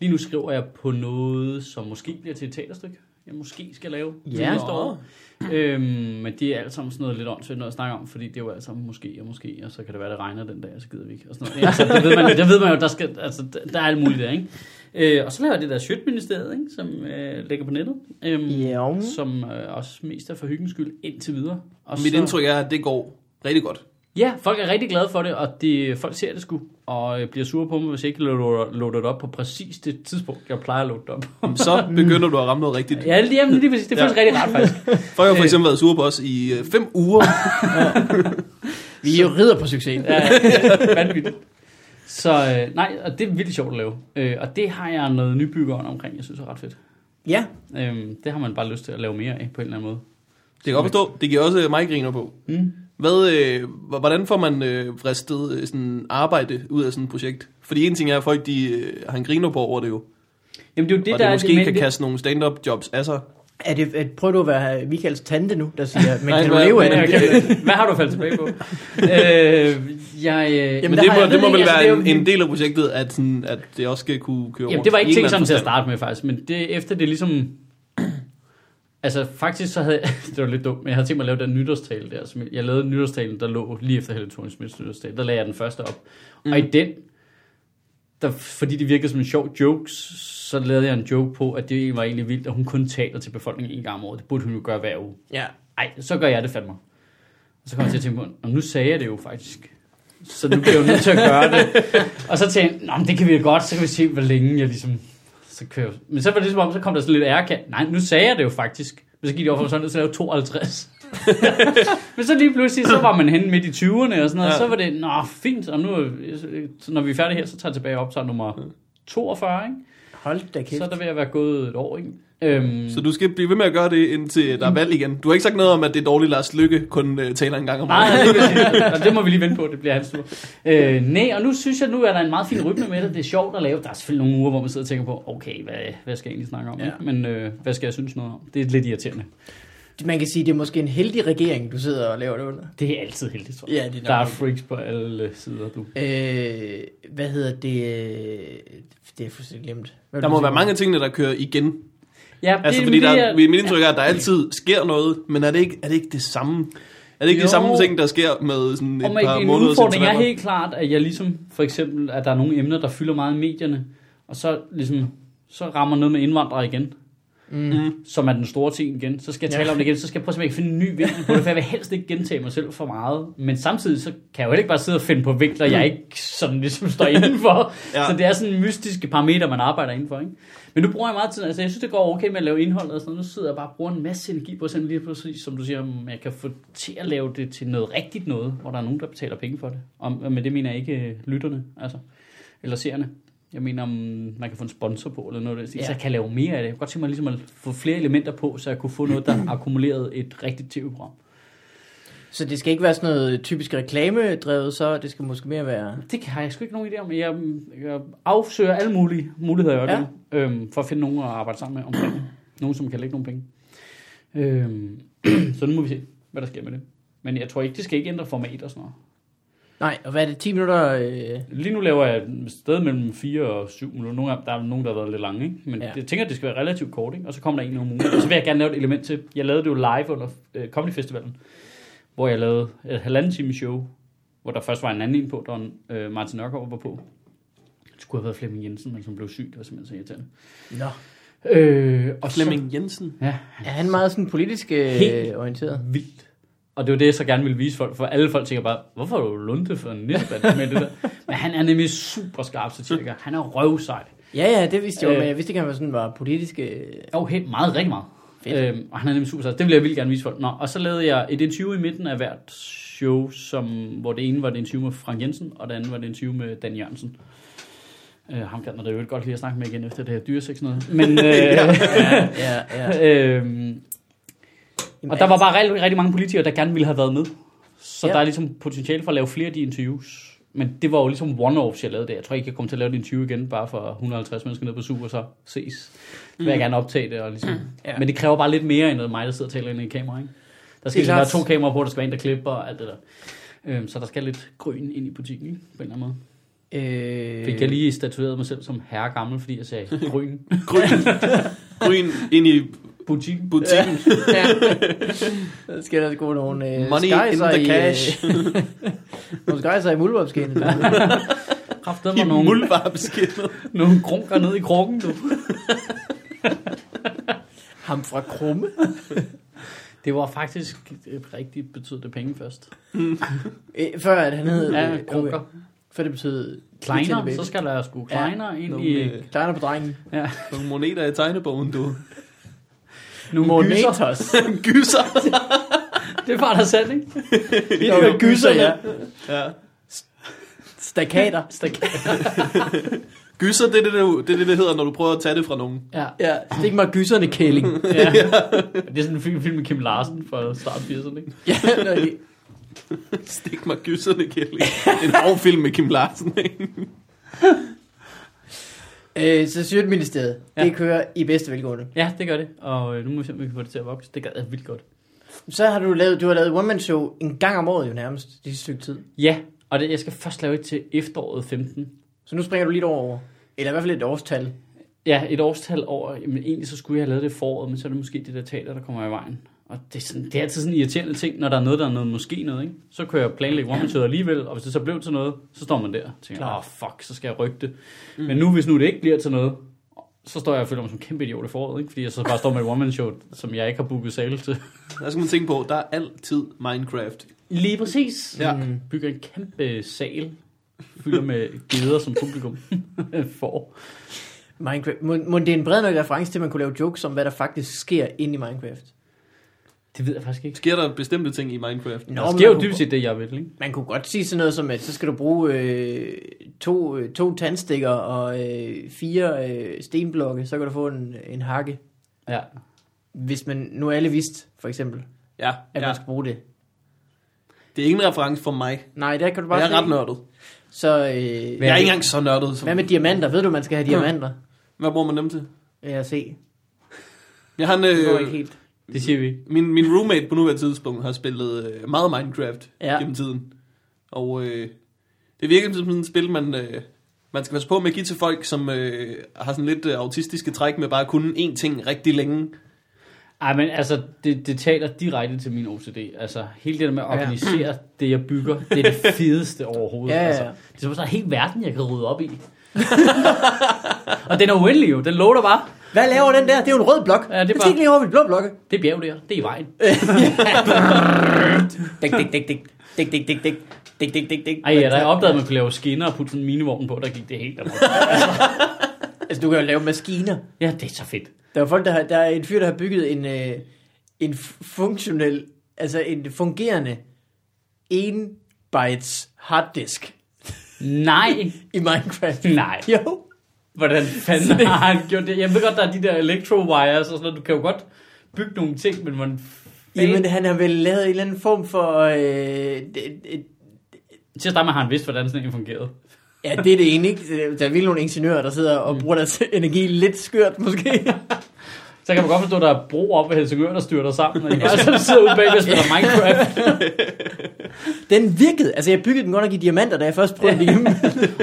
S3: lige nu skriver jeg på noget, som måske bliver til et teaterstykke, jeg måske skal lave til
S2: Ja.
S3: næste år. Øhm, men det er alt sammen sådan noget lidt åndssvagt noget at snakke om, fordi det er jo alt sammen måske og måske, og så kan det være, det regner den dag, og så gider vi ikke. Og sådan noget. Ja, så det, ved man, det ved man jo, der, skal, altså, der- der er alt muligt der, ikke? Øh, og så laver jeg det der Sjøtministeriet, ikke, som øh, ligger på nettet, øhm,
S2: Ja.
S3: som øh, også mest er for hyggens skyld indtil videre. Og
S1: Mit
S3: så-
S1: indtryk er, at det går rigtig godt.
S3: Ja, folk er rigtig glade for det, og det, folk ser det sgu, og øh, bliver sure på mig, hvis jeg ikke loader loader det op på præcis det tidspunkt, jeg plejer at loade det op.
S1: Så begynder du at ramme noget rigtigt.
S3: ja, Øh. lige, jamen, lige præcis. Det
S1: Ja.
S3: føles ja. rigtig rart, faktisk.
S1: Folk har for eksempel været sure på os i øh, fem uger.
S2: Vi er jo ridder på succesen.
S3: Ja, vanvittigt. Så øh, nej, og det er vildt sjovt at lave. Øh, og det har jeg noget nybyggeren omkring, jeg synes er ret fedt.
S2: Ja,
S3: Øh, det har man bare lyst til at lave mere af, på en eller anden måde.
S1: Det kan jeg godt forstå. Det giver også øh, mig griner på.
S3: Mm.
S1: Hvad, øh, h- hvordan får man øh, fristet øh, sådan arbejde ud af sådan et projekt? Fordi en ting er, at folk de, øh, har en griner på over det jo.
S3: Jamen, det er jo det,
S1: Det, og
S3: der
S1: det
S3: er
S1: måske
S3: men
S1: kan kaste nogle stand-up jobs af sig.
S2: Er det, at, prøver du at være Michaels tante nu, der siger, men
S1: Nej,
S2: kan du
S1: hvad-
S2: leve
S1: hvad-
S2: af
S3: Men
S2: det?
S3: jeg kan- Hvad har du faldet tilbage på? øh, jeg, øh,
S1: Men
S2: der
S1: det
S2: har
S1: må,
S2: jeg-
S1: det må
S2: ved
S1: vel
S2: ikke, altså,
S1: være
S2: det er
S1: en,
S2: jo-
S1: en del af projektet, at, sådan, at det også skal kunne køre
S3: Jamen,
S1: rundt
S3: det var
S1: i
S3: ikke
S1: en
S3: tænkt
S1: eller
S3: sådan
S1: anden
S3: til at
S1: forstand.
S3: starte med, faktisk. Men det, efter det ligesom... Altså, faktisk så havde jeg... det var lidt dumt, men jeg havde tænkt mig at lave den nytårstale der. Som jeg, jeg lavede nytårstalen, der lå lige efter Helle Thorning Smiths nytårstale. Der lagde jeg den første op. Mm. Og i den, der, fordi det virkede som en sjov joke, så lavede jeg en joke på, at det var egentlig vildt, at hun kun taler til befolkningen en gang om året. Det burde hun jo gøre hver uge.
S2: Ja.
S3: Ej, så gør jeg det fandme. Og så kom jeg til at tænke på, "Nå, nu sagde jeg det jo faktisk. Så nu bliver jeg jo nødt til at gøre det. Og så tænkte jeg, "Nå, men det kan vi jo godt, så kan vi se, hvor længe jeg ligesom... Så kører. jeg." Men så var det ligesom om, så kom der sådan lidt ærkant. Nej, nu sagde jeg det jo faktisk. Men så gik det over for sådan, at så lavede jeg 52. Men så lige pludselig, så var man henne midt i 20'erne og sådan noget.
S1: Ja.
S3: Ja. Så var det, nå, fint. Og nu, øh, så når vi er færdige her, så tager jeg tilbage og optager nummer 42, ikke?
S2: Hold da kæft.
S3: Så er der ved at være gået et år, ikke? Øhm,
S1: Så du skal blive ved med at gøre det, indtil der er valg igen. Du har ikke sagt noget om, at det er dårligt, Lars Lykke kun øh, taler en gang om
S3: Nej,
S1: året.
S3: nej, det, vil jeg sige. Og det må vi lige vente på, det bliver hans tur. Øh, nej, og nu synes jeg, nu er der en meget fin rytme med det. Det er sjovt at lave. Der er selvfølgelig nogle uger, hvor man sidder og tænker på, okay, hvad, hvad skal jeg egentlig snakke om?
S2: Ja.
S3: Ja. Men øh, hvad skal jeg synes noget om? Det er lidt irriterende.
S2: man kan sige, det er måske en heldig regering, du sidder og laver det under.
S3: Det er altid heldigt, tror jeg.
S2: Ja, det er nok
S3: der er
S2: heldigt.
S3: freaks på alle sider, du.
S2: Øh, hvad hedder det? øh, Det er fuldstændig glemt. Hvad vil
S1: Der
S2: du
S1: må
S2: sige?
S1: være mange af tingene, der kører igen.
S3: Ja,
S1: Altså, fordi der, er- mit indtryk er, at der altid sker noget, men er det ikke, er det, ikke det samme? Er det ikke de
S3: Jo.
S1: samme ting, der sker med sådan et
S3: Og man,
S1: par
S3: en
S1: måneder
S3: udfordring er helt klart, at jeg ligesom, for eksempel, at der er nogle emner, der fylder meget i medierne, og så ligesom, så rammer noget med indvandrere igen,
S2: Mm.
S3: som er den store ting igen. Så skal jeg tale
S2: Ja.
S3: om det igen, så skal jeg prøve at se, om jeg kan finde en ny vinkel på det, for jeg vil helst ikke gentage mig selv for meget. Men samtidig, så kan jeg jo heller ikke bare sidde og finde på vinkler,
S2: Mm.
S3: jeg ikke sådan ligesom står indenfor.
S1: Ja.
S3: ja. Så det er sådan mystiske parametre, man arbejder indenfor, ikke? Men nu bruger jeg meget tid, altså jeg synes, det går okay med at lave indhold og sådan noget. Nu sidder jeg bare og bruger en masse energi på sådan lige præcis, som du siger, om jeg kan få til at lave det til noget rigtigt noget, hvor der er nogen, der betaler penge for det. Og og med det mener jeg ikke øh, lytterne, altså, eller seerne. Jeg mener, om man kan få en sponsor på, eller noget af det. Ja.
S2: Ja.
S3: Så jeg kan lave mere af det. Jeg kunne godt tænke mig ligesom at få flere elementer på, så jeg kunne få noget, der akkumulerede et rigtigt tv-program.
S2: Så det skal ikke være sådan noget øh, typisk reklamedrevet, så det skal måske mere være...
S3: Det kan- har jeg sgu ikke nogen idé om. Jeg, jeg afsøger alle mulige muligheder i øjeblikket, ja. øhm, for at finde nogen at arbejde sammen med omkring. det. nogen, som kan lægge nogle penge. Øhm, så nu må vi se, hvad der sker med det. Men jeg tror ikke, det skal ikke ændre format og sådan noget.
S2: Nej, og hvad er det, 10 minutter? Øh...
S3: Lige nu laver jeg et sted mellem 4 og 7 minutter. Nogle af, der er nogen, der har været lidt lange, ikke? men
S2: Ja.
S3: ja. jeg tænker, at det skal være relativt kort. Ikke? Og så kommer der en om ugen. Og så vil jeg gerne lave et element til. Jeg lavede det jo live under øh, Comedy Festivalen, hvor jeg lavede et halvanden time show, hvor der først var en anden en på, der øh, Martin Nørgaard var på. Det skulle have været Flemming Jensen, men som blev syg. Det var simpelthen så irriterende.
S2: Nå,
S3: Øh, og
S1: Flemming Jensen.
S3: Så, ja,
S2: er han meget sådan politisk øh,
S3: Helt.
S2: orienteret?
S3: vildt. Og det var det, jeg så gerne ville vise folk, for alle folk tænker bare, hvorfor er du lunte for en nisseband med det der? Men han er nemlig super skarp satiriker. Han er røvsej.
S2: Ja, ja, det vidste jeg jo,
S3: Øh.
S2: men jeg vidste ikke, at han var sådan var politisk... Øh...
S3: Jo, helt meget, rigtig meget.
S2: Fedt.
S3: Øhm, og han er nemlig super sej. Det vil jeg vildt gerne vise folk. Nå, og så lavede jeg et interview i midten af hvert show, som, hvor det ene var et interview med Frank Jensen, og det andet var et interview med Dan Jørgensen. Øh, ham kan man da jo godt lige at snakke med igen efter det her dyresex noget. Men, øh,
S2: Ja, ja.
S3: øhm,
S2: Jamen, altså,
S3: og der var bare rigtig, rigtig mange politikere, der gerne ville have været med.
S2: Ja.
S3: Så ja. der er ligesom potentiale for at lave flere af de interviews. Men det var jo ligesom one-offs, jeg lavede det. Jeg tror ikke, jeg kommer til at lave det interview igen, bare for 150 mennesker ned på super, så ses. Så vil jeg gerne optage det. Og ligesom.
S2: Mm. Ja.
S3: ja. Men det kræver bare lidt mere end mig, der sidder og taler ind i et kamera. Ikke? Der skal
S2: Det er
S3: ligesom være
S2: klart.
S3: to kameraer på, der skal være en, der klipper og alt det der. Øhm, så der skal lidt grøn ind i butikken, ikke? på en eller anden måde.
S2: Øh...
S3: Fik jeg lige statueret mig selv som herre gammel, fordi jeg sagde grøn
S1: Gryn. Gryn ind i
S3: butik.
S1: butikken.
S2: ja. Der skal der gå nogle øh,
S1: Money in
S2: skejser
S1: the
S2: i,
S1: cash.
S2: Øh, nogle skejser i muldvarpskinnet.
S3: Kræftet
S1: I
S3: mig nogle,
S1: muldvarpskinnet.
S3: nogle grunker ned i krukken, du.
S2: Ham fra Krumme.
S3: Det var faktisk øh, rigtigt betød det penge først.
S2: Øh, før at han hed...
S3: Ja,
S2: øh,
S3: krukker.
S2: okay. Før det betød...
S3: Kleiner,
S2: Tilbage.
S3: så skal der sgu kleiner ja, ind
S1: Nogle,
S3: i
S1: øh,
S2: Kleiner på drengen.
S3: ja,
S1: Nogle moneter i tegnebogen, du.
S3: nogle gyser.
S2: Monetos.
S1: Gyser.
S3: Det var der sandt, ikke?
S2: Det var jo gyser, ja.
S1: Ja.
S2: Stakater.
S1: Gyser, det er det, du- det, er det, det hedder, når du prøver at tage det fra nogen.
S3: Ja.
S2: Ja, stik mig gyserne, kælling.
S3: ja. Det er sådan en film, film med Kim Larsen fra start 80'erne, ikke?
S2: ja, når de-
S1: Stik mig gysserne, Kelly. En hård film med Kim Larsen. ikke?
S2: øh, så Syrtministeriet, ja.
S3: Ja.
S2: det kører i bedste velgående.
S3: Ja, det gør det. Og øh, nu må vi se, om vi kan få det til at vokse. Det gør det vildt godt.
S2: Så har du lavet, du har lavet One Man Show en gang om året jo nærmest, det sidste stykke tid.
S3: Ja, og det, jeg skal først lave et til efteråret 15.
S2: Så nu springer du lidt over, eller i hvert fald et årstal.
S3: Ja, et årstal over. Jamen, egentlig så skulle jeg have lavet det i foråret, men så er det måske det der teater, der kommer i vejen. Og det er, sådan, det er altid sådan en irriterende ting, når der er noget, der er noget måske noget, ikke? Så kan jeg planlægge Womanship alligevel, og hvis det så blev til noget, så står man der og tænker, åh
S2: Klart.
S3: oh, fuck, så skal jeg rykke det. Mm. Men nu, hvis nu det ikke bliver til noget, så står jeg og føler mig som en kæmpe idiot i foråret, ikke? Fordi jeg så bare står med et one show som jeg ikke har booket sale til.
S1: Der skal man tænke på, der er altid Minecraft.
S3: Lige præcis.
S1: Ja.
S3: Mm. Bygger en kæmpe sal, fylder med geder, som publikum får.
S2: Minecraft. Må, må det er en bred nok reference til, at man kunne lave jokes om, hvad der faktisk sker inde i Minecraft.
S3: Det ved jeg faktisk ikke.
S1: Sker der bestemte ting i Minecraft?
S2: Nå, men
S3: Der sker
S2: man
S3: jo
S2: kunne-
S3: dybest set det, jeg vil, ikke?
S2: Man kunne godt sige sådan noget som, at så skal du bruge øh, to, øh, to tandstikker og øh, fire øh, stenblokke, så kan du få en, en hakke.
S3: Ja.
S2: Hvis man nu alle vidste, for eksempel,
S1: Ja,
S2: at ja.
S1: ja.
S2: man skal bruge det.
S1: Det er ikke en reference for mig.
S2: Nej, der kan du bare
S1: Jeg er
S2: se.
S1: ret nørdet.
S2: Så øh,
S1: Jeg er ikke engang så nørdet.
S2: hvad
S1: Som...
S2: med diamanter? Ved du, man
S3: Hm.
S2: skal have diamanter?
S1: Hvad bruger man dem til?
S2: Ja, se.
S1: Jeg har en,
S2: Det går ikke
S1: øh,
S2: helt.
S3: Det siger vi ikke.
S1: Min, min roommate på nuværende tidspunkt har spillet øh, meget Minecraft
S2: Ja.
S1: ja. gennem tiden. Og øh, det virker som sådan et spil, man, øh, man skal passe på med at give til folk, som øh, har sådan lidt øh, autistiske træk med bare at kunne én ting rigtig længe.
S3: Ej, men altså, det, det taler direkte til min OCD. Altså, hele det der med at
S2: Ja.
S3: organisere ja. det, jeg bygger, det er det fedeste overhovedet.
S2: Ja, ja, ja.
S3: Altså, det er som om, der er hele verden, jeg kan rydde op i. og den er uendelig jo. Den loader bare.
S2: Hvad laver den der? Det er jo en rød blok.
S3: Ja, det er
S2: Jeg
S3: bare-
S2: tænker lige over ved de blå blokke.
S3: Det bjerg der, det er i vejen.
S2: Dik, dik, dik, dik. Dik, dik, dik, dik. Dik, dik, dik, dik.
S3: Ej, ja, der jeg opdagede, at man kunne lave skinner og putte sådan en minivogn på, der gik det helt amok.
S2: Altså, du kan jo lave maskiner.
S3: Ja, det er så fedt.
S2: Der er, folk, der, har, der er en fyr, der har bygget en, øh, en f- funktionel, altså en fungerende 1 bytes harddisk
S3: Nej,
S2: i Minecraft.
S3: nej.
S2: Jo.
S3: Hvordan fanden har han gjort det? Jeg ved godt, der er de der electrowires og sådan noget. Du kan jo godt bygge nogle ting, men man...
S2: Jamen, han har vel lavet en eller anden form for... Øh, det, det,
S3: Til at starte med har han vidst, hvordan sådan en fungerede.
S2: ja, det er det ene, ikke? Øh, Der er virkelig nogle ingeniører, der sidder og bruger deres energi lidt skørt, måske.
S3: Så kan man godt forstå, at der er bro op ved Helsingør, der styrter sammen. Og de bare sådan sidder ude bag og spiller Minecraft.
S2: Den virkede. Altså, jeg byggede den godt nok i diamanter, da jeg først prøvede den hjemme.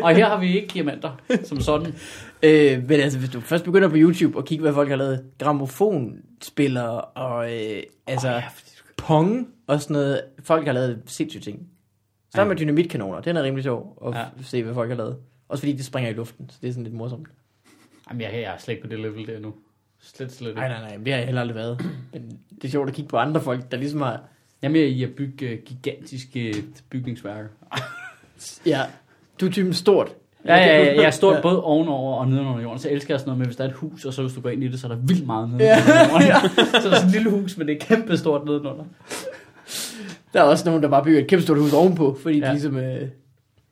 S3: Og her har vi ikke diamanter, som sådan.
S2: Øh, men altså, hvis du først begynder på YouTube og kigge, hvad folk har lavet, gramofonspillere og øh, altså oh, ja, pong og sådan noget, folk har lavet sindssyge ting. Sammen med dynamitkanoner, den er rimelig sjov at
S3: Ja.
S2: ja. se, hvad folk har lavet. Også fordi det springer i luften, så det er sådan lidt morsomt.
S3: Jamen, jeg, jeg er slet ikke på det level der nu. Slet, slet
S2: Nej,
S3: ikke.
S2: nej, nej, men det har jeg heller aldrig været. Men det er sjovt at kigge på andre folk, der ligesom har...
S3: Jamen, jeg er i at bygge øh, gigantiske øh, bygningsværker.
S2: Ja, du er typen stort.
S3: Ja, ja, ja, jeg er stort både ovenover og nedenover jorden, så elsker jeg sådan noget med, hvis der er et hus, og så hvis du går ind i det, så er der vildt meget nedenover jorden. Så er der sådan et lille hus, men det er kæmpe stort nedenunder.
S2: Der er også nogen, der bare bygger et kæmpe stort hus ovenpå, fordi ja.
S3: Ja.
S2: de ligesom, øh,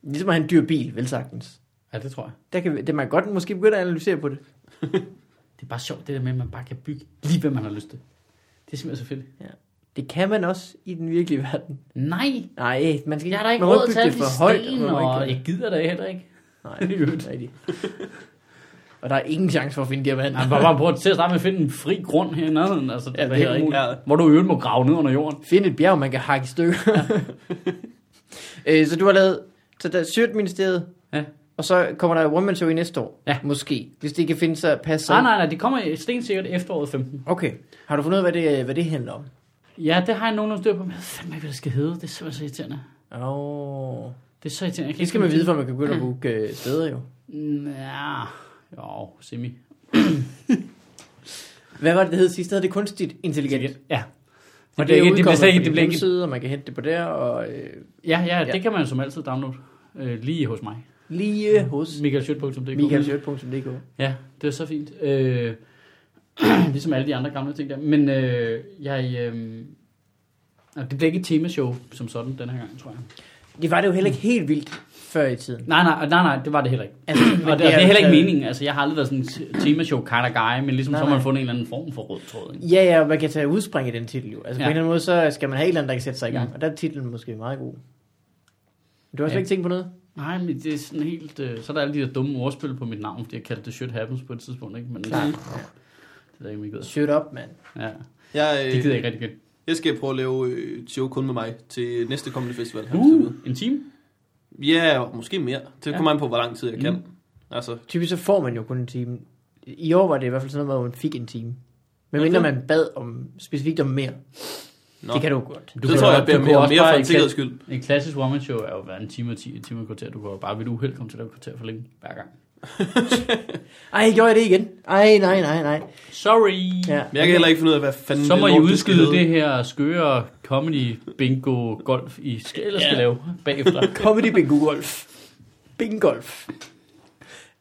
S2: ligesom har en dyr bil, vel sagtens.
S3: Ja, det tror jeg.
S2: Der kan, vi- det man godt måske begynde at analysere på det.
S3: Det er bare sjovt, det der med, at man bare kan bygge lige, hvad man har lyst til. Det er simpelthen så fedt.
S2: Det kan man også i den virkelige verden.
S3: Nej,
S2: Nej, man skal
S3: jeg har da ikke
S2: man må
S3: råd til
S2: bygge
S3: alle
S2: det
S3: de
S2: for højt,
S3: sten,
S2: man må
S3: og
S2: ikke-
S3: jeg gider da heller ikke.
S2: Nej,
S3: Det er
S2: det
S3: jo-
S2: er rigtigt. Og der er ingen chance for at finde diamanter.
S3: Nej, bare, bare prøv at til at starte med at finde en fri grund her i nærheden, altså,
S2: Ja,
S3: ja, det er
S2: det er
S3: helt
S2: rigtigt.
S3: muligt, hvor du i øvrigt må grave ned under jorden.
S2: Find et bjerg, man kan hakke i stykker. øh, så du har lavet så der er Syrtministeriet,
S3: Ja.
S2: og så kommer der One Man Show i næste år.
S3: Ja.
S2: Måske, hvis det kan finde sig passe
S3: Nej,
S2: sammen.
S3: nej, nej, det kommer stensikkert efteråret 15.
S2: Okay, har du fundet ud af, hvad det, hvad det handler om?
S3: Ja, det har jeg nogenlunde styr på, men jeg ved fandme ikke, hvad det skal hedde. Det er simpelthen så irriterende.
S2: Åh, oh.
S3: Det er så irriterende. Jeg kan
S2: det skal
S3: ikke-
S2: man vide, for man kan begynde at booke øh, steder jo.
S3: Ja, jo, semi.
S2: Hvad var det, det hed sidst? Det hed det kunstigt intelligent.
S3: Ja.
S2: Og
S3: Det bliver
S2: er
S3: ikke, det bliver
S2: udkommet
S3: slet
S2: på
S3: ikke, det
S2: din
S3: bliver ikke.
S2: hjemmeside, og man kan hente det på der, og øh,
S3: Ja, ja,
S2: Ja.
S3: det kan man som altid downloade. Øh, lige hos mig.
S2: lige hos
S3: michaelschødt.dk
S2: michaelsjørt.dk.
S3: Ja, det er så fint. Øh, ligesom alle de andre gamle ting der. Men øh, jeg... Øh, altså, det bliver ikke et temashow som sådan den her gang, tror jeg.
S2: Det var det jo heller ikke helt vildt før i tiden.
S3: Nej, nej, nej, nej, det var det heller ikke.
S2: Altså, men
S3: Og det, det er heller ikke
S2: altså-
S3: meningen. Altså, jeg har aldrig været sådan en t- temashow kind of guy, men ligesom
S2: Nej,
S3: så har man
S2: nej.
S3: fundet en eller anden form for rød tråd. Ikke?
S2: Ja, ja, og man kan tage udspring i den titel jo. Altså ja.
S3: Ja.
S2: på en eller anden måde, så skal man have et eller andet, der kan sætte sig i gang.
S1: Mm.
S3: Ja.
S2: Og der er titlen måske meget god. Du har slet
S3: Ja.
S2: ikke tænkt på noget?
S1: Mm.
S3: Nej, men det er sådan helt... Øh, så er der alle de der dumme ordspil på mit navn, fordi jeg kaldte det Shit Happens på et tidspunkt, ikke? Men det er ikke, om jeg gider.
S2: Shut up, mand.
S3: Ja,
S1: Jeg, øh,
S3: det gider jeg ikke rigtig godt.
S1: Jeg skal prøve at lave øh, et show kun med mig til næste kommende festival. her på
S3: Uh,
S1: Stadion.
S3: en time?
S1: Ja, og måske mere. Det
S3: Ja. Mm.
S1: kommer an på, hvor lang tid jeg kan. Altså,
S2: Typisk så får man jo kun en time. I år var det i hvert fald sådan noget, hvor man fik en time. Men mindre
S1: Okay.
S2: man bad om, specifikt om mere.
S1: nå.
S2: Det kan du jo godt.
S1: det tror jeg, jeg beder
S3: du
S1: mere
S3: kunne
S1: om
S3: også
S1: mere
S3: bare
S1: for
S3: i
S1: en
S3: kla-
S1: sikkerheds skyld.
S3: En klassisk woman show er jo hver en time og 10 en time og et kvarter. Du kan jo bare ved et uheld komme til at lave et kvarter for længe hver gang.
S2: Ej, gjorde jeg det igen? Ej, nej, nej, nej.
S3: Sorry!
S1: Men
S2: Ja.
S1: jeg kan heller ikke finde ud af, hvad fanden
S3: Så må
S1: det
S3: I
S1: lort, du skal
S3: udskyde
S1: hedde.
S3: det her skøre comedy bingo golf, I skal, eller skal lave bagefter.
S2: Comedy Bingo Golf. Bingo Golf.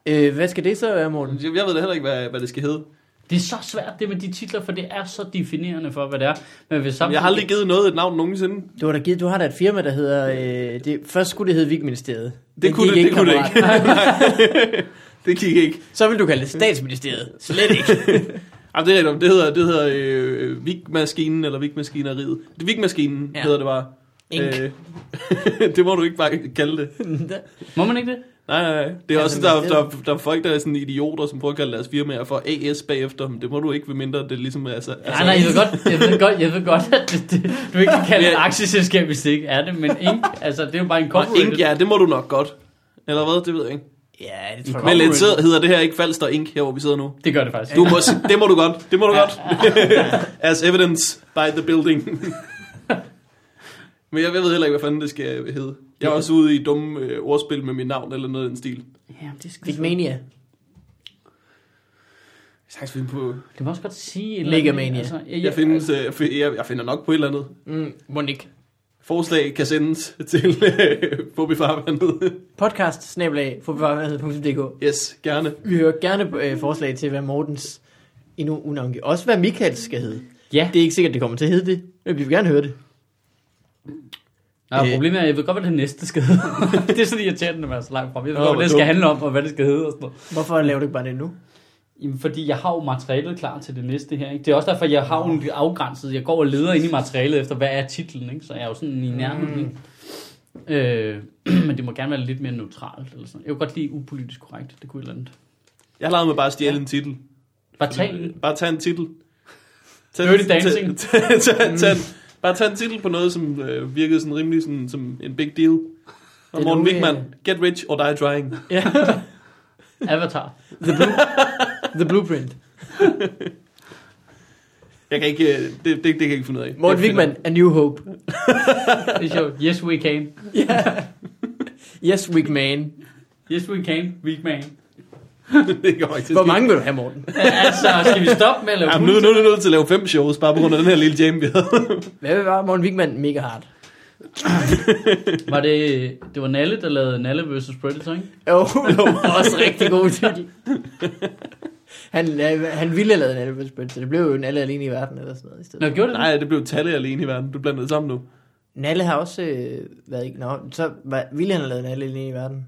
S2: Øh, hvad skal det så være, Morten?
S1: Jeg- Jeg ved da heller ikke, hvad, hvad det skal hedde.
S3: Det er så svært det med de titler, for det er så definerende for, hvad det er. Men hvis
S1: Jeg har aldrig givet noget et navn nogensinde.
S2: Du har, da givet, du har da et firma, der hedder... Øh, det, først skulle det hedde Vigministeriet.
S1: Det kunne det, det, kunne det ikke. Nej. det gik ikke.
S2: Så vil du kalde det Statsministeriet. Slet ikke.
S1: Jamen, det er rigtigt. Det hedder, det hedder øh, Vigmaskinen, eller Vigmaskineriet. Det Vigmaskinen
S2: Ja.
S1: Øh, ja. hedder det bare.
S2: Ink.
S1: Øh, det må du ikke bare kalde det.
S3: Må man ikke det?
S1: Nej, nej, nej. Det er
S2: Ja,
S1: også,
S2: men
S1: der,
S2: det-
S1: der, der, er folk, der er sådan idioter, som prøver at kalde deres firmaer for AS bagefter, men det må du ikke, ved mindre det ligesom er... Altså,
S3: Nej, nej, jeg ved godt, jeg ved godt, jeg ved godt at det, det, du ikke kan kalde et
S1: Ja.
S3: aktieselskab, hvis det ikke er det, men Inc., altså, det er jo bare en corporate.
S1: Ink, ja, det må du nok godt. Eller hvad, det ved jeg ikke.
S2: Ja, det tror jeg
S1: Men
S2: godt.
S1: lidt så hedder det her ikke Falster Ink, her hvor vi sidder nu.
S3: Det gør det faktisk.
S1: Du må, s- det må du godt, det må du godt. As evidence by the building. Men jeg, jeg ved heller ikke, hvad fanden det skal hedde. Jeg er også ude i dumme øh, ordspil med mit navn eller noget i den stil.
S3: Ja, det, skal
S2: Vigmania.
S1: Jeg skal finde på...
S3: det må også godt sige... et
S2: Legamania.
S3: eller andet, Altså, jeg,
S1: Jeg, findes, øh, jeg, fi- jeg, jeg finder nok på et eller andet.
S2: Mm, Monique.
S1: Forslag kan sendes til øh, Bobby Farvandet.
S2: Podcast, snablag, forbevarmhed.dk.
S1: Yes, gerne.
S2: Vi hører gerne øh, forslag til, hvad Mortens endnu unavngivet. Også hvad Michael skal hedde.
S3: Ja,
S2: Det er ikke sikkert, det kommer til at hedde det. Men vi vil gerne høre det.
S3: Nå,
S2: Øh.
S3: problemet er, at jeg ved godt, hvad det næste skal hedde. det er sådan irriterende at være så langt frem. Jeg ved
S1: Nå,
S3: godt,
S1: hvor
S3: hvad det skal
S1: dumt.
S3: handle om, og hvad det skal hedde og sådan noget.
S2: Hvorfor laver du ikke bare det nu?
S3: Jamen, fordi jeg har jo materialet klar til det næste her. Ikke? Det er også derfor, jeg har jo en afgrænset. Jeg går og leder ind i materialet efter, hvad er titlen. Ikke? Så jeg er jo sådan
S1: Mm.
S3: i nærheden. Ikke? Øh, men det må gerne være lidt mere neutralt. Eller sådan. Jeg kunne godt lide upolitisk korrekt. Det kunne et eller andet.
S1: Jeg har leget med bare at stjæle en titel.
S3: Bare tag en.
S1: Bare tag en titel.
S3: Dirty Dancing. Mm.
S1: Tag, tag, tag, tag, en- bare tag en titel på noget, som øh, virkede sådan rimelig sådan, som en big deal. Og
S2: Det øh,
S1: Morten
S2: nu, øh,
S1: Wigman, get rich or die trying.
S2: Ja.
S3: Avatar.
S2: The Blueprint.
S1: Jeg kan ikke, øh, det, det, det kan jeg ikke finde ud af.
S2: Morten
S1: Jeg finder-
S2: Wigman, A New Hope.
S3: Det er sjovt. Yes, we can.
S2: Ja. Yes, Wigman.
S3: Yes, we can. Weak man.
S1: det går ikke til
S2: Hvor mange vil du have, Morten?
S3: altså, skal vi stoppe med at lave
S1: Jamen, nu, nu er du nødt til at lave fem shows, bare på grund af den her lille jam, vi havde.
S2: Hvad vil være Morten Wigman mega hard?
S3: Var det, det var Nalle, der lavede Nalle vs. Predator, ikke?
S2: Jo, også rigtig god titel. Han, øh, han ville have lavet en Elvis Presley, så det blev jo en alle alene i verden eller sådan noget i stedet.
S3: Nå, gjorde det det?
S1: Nej, det blev Talle alene i verden. Du blandede sammen nu.
S2: Nalle har også øh, været ikke... Nå, så var, ville han have lavet en alle alene i verden.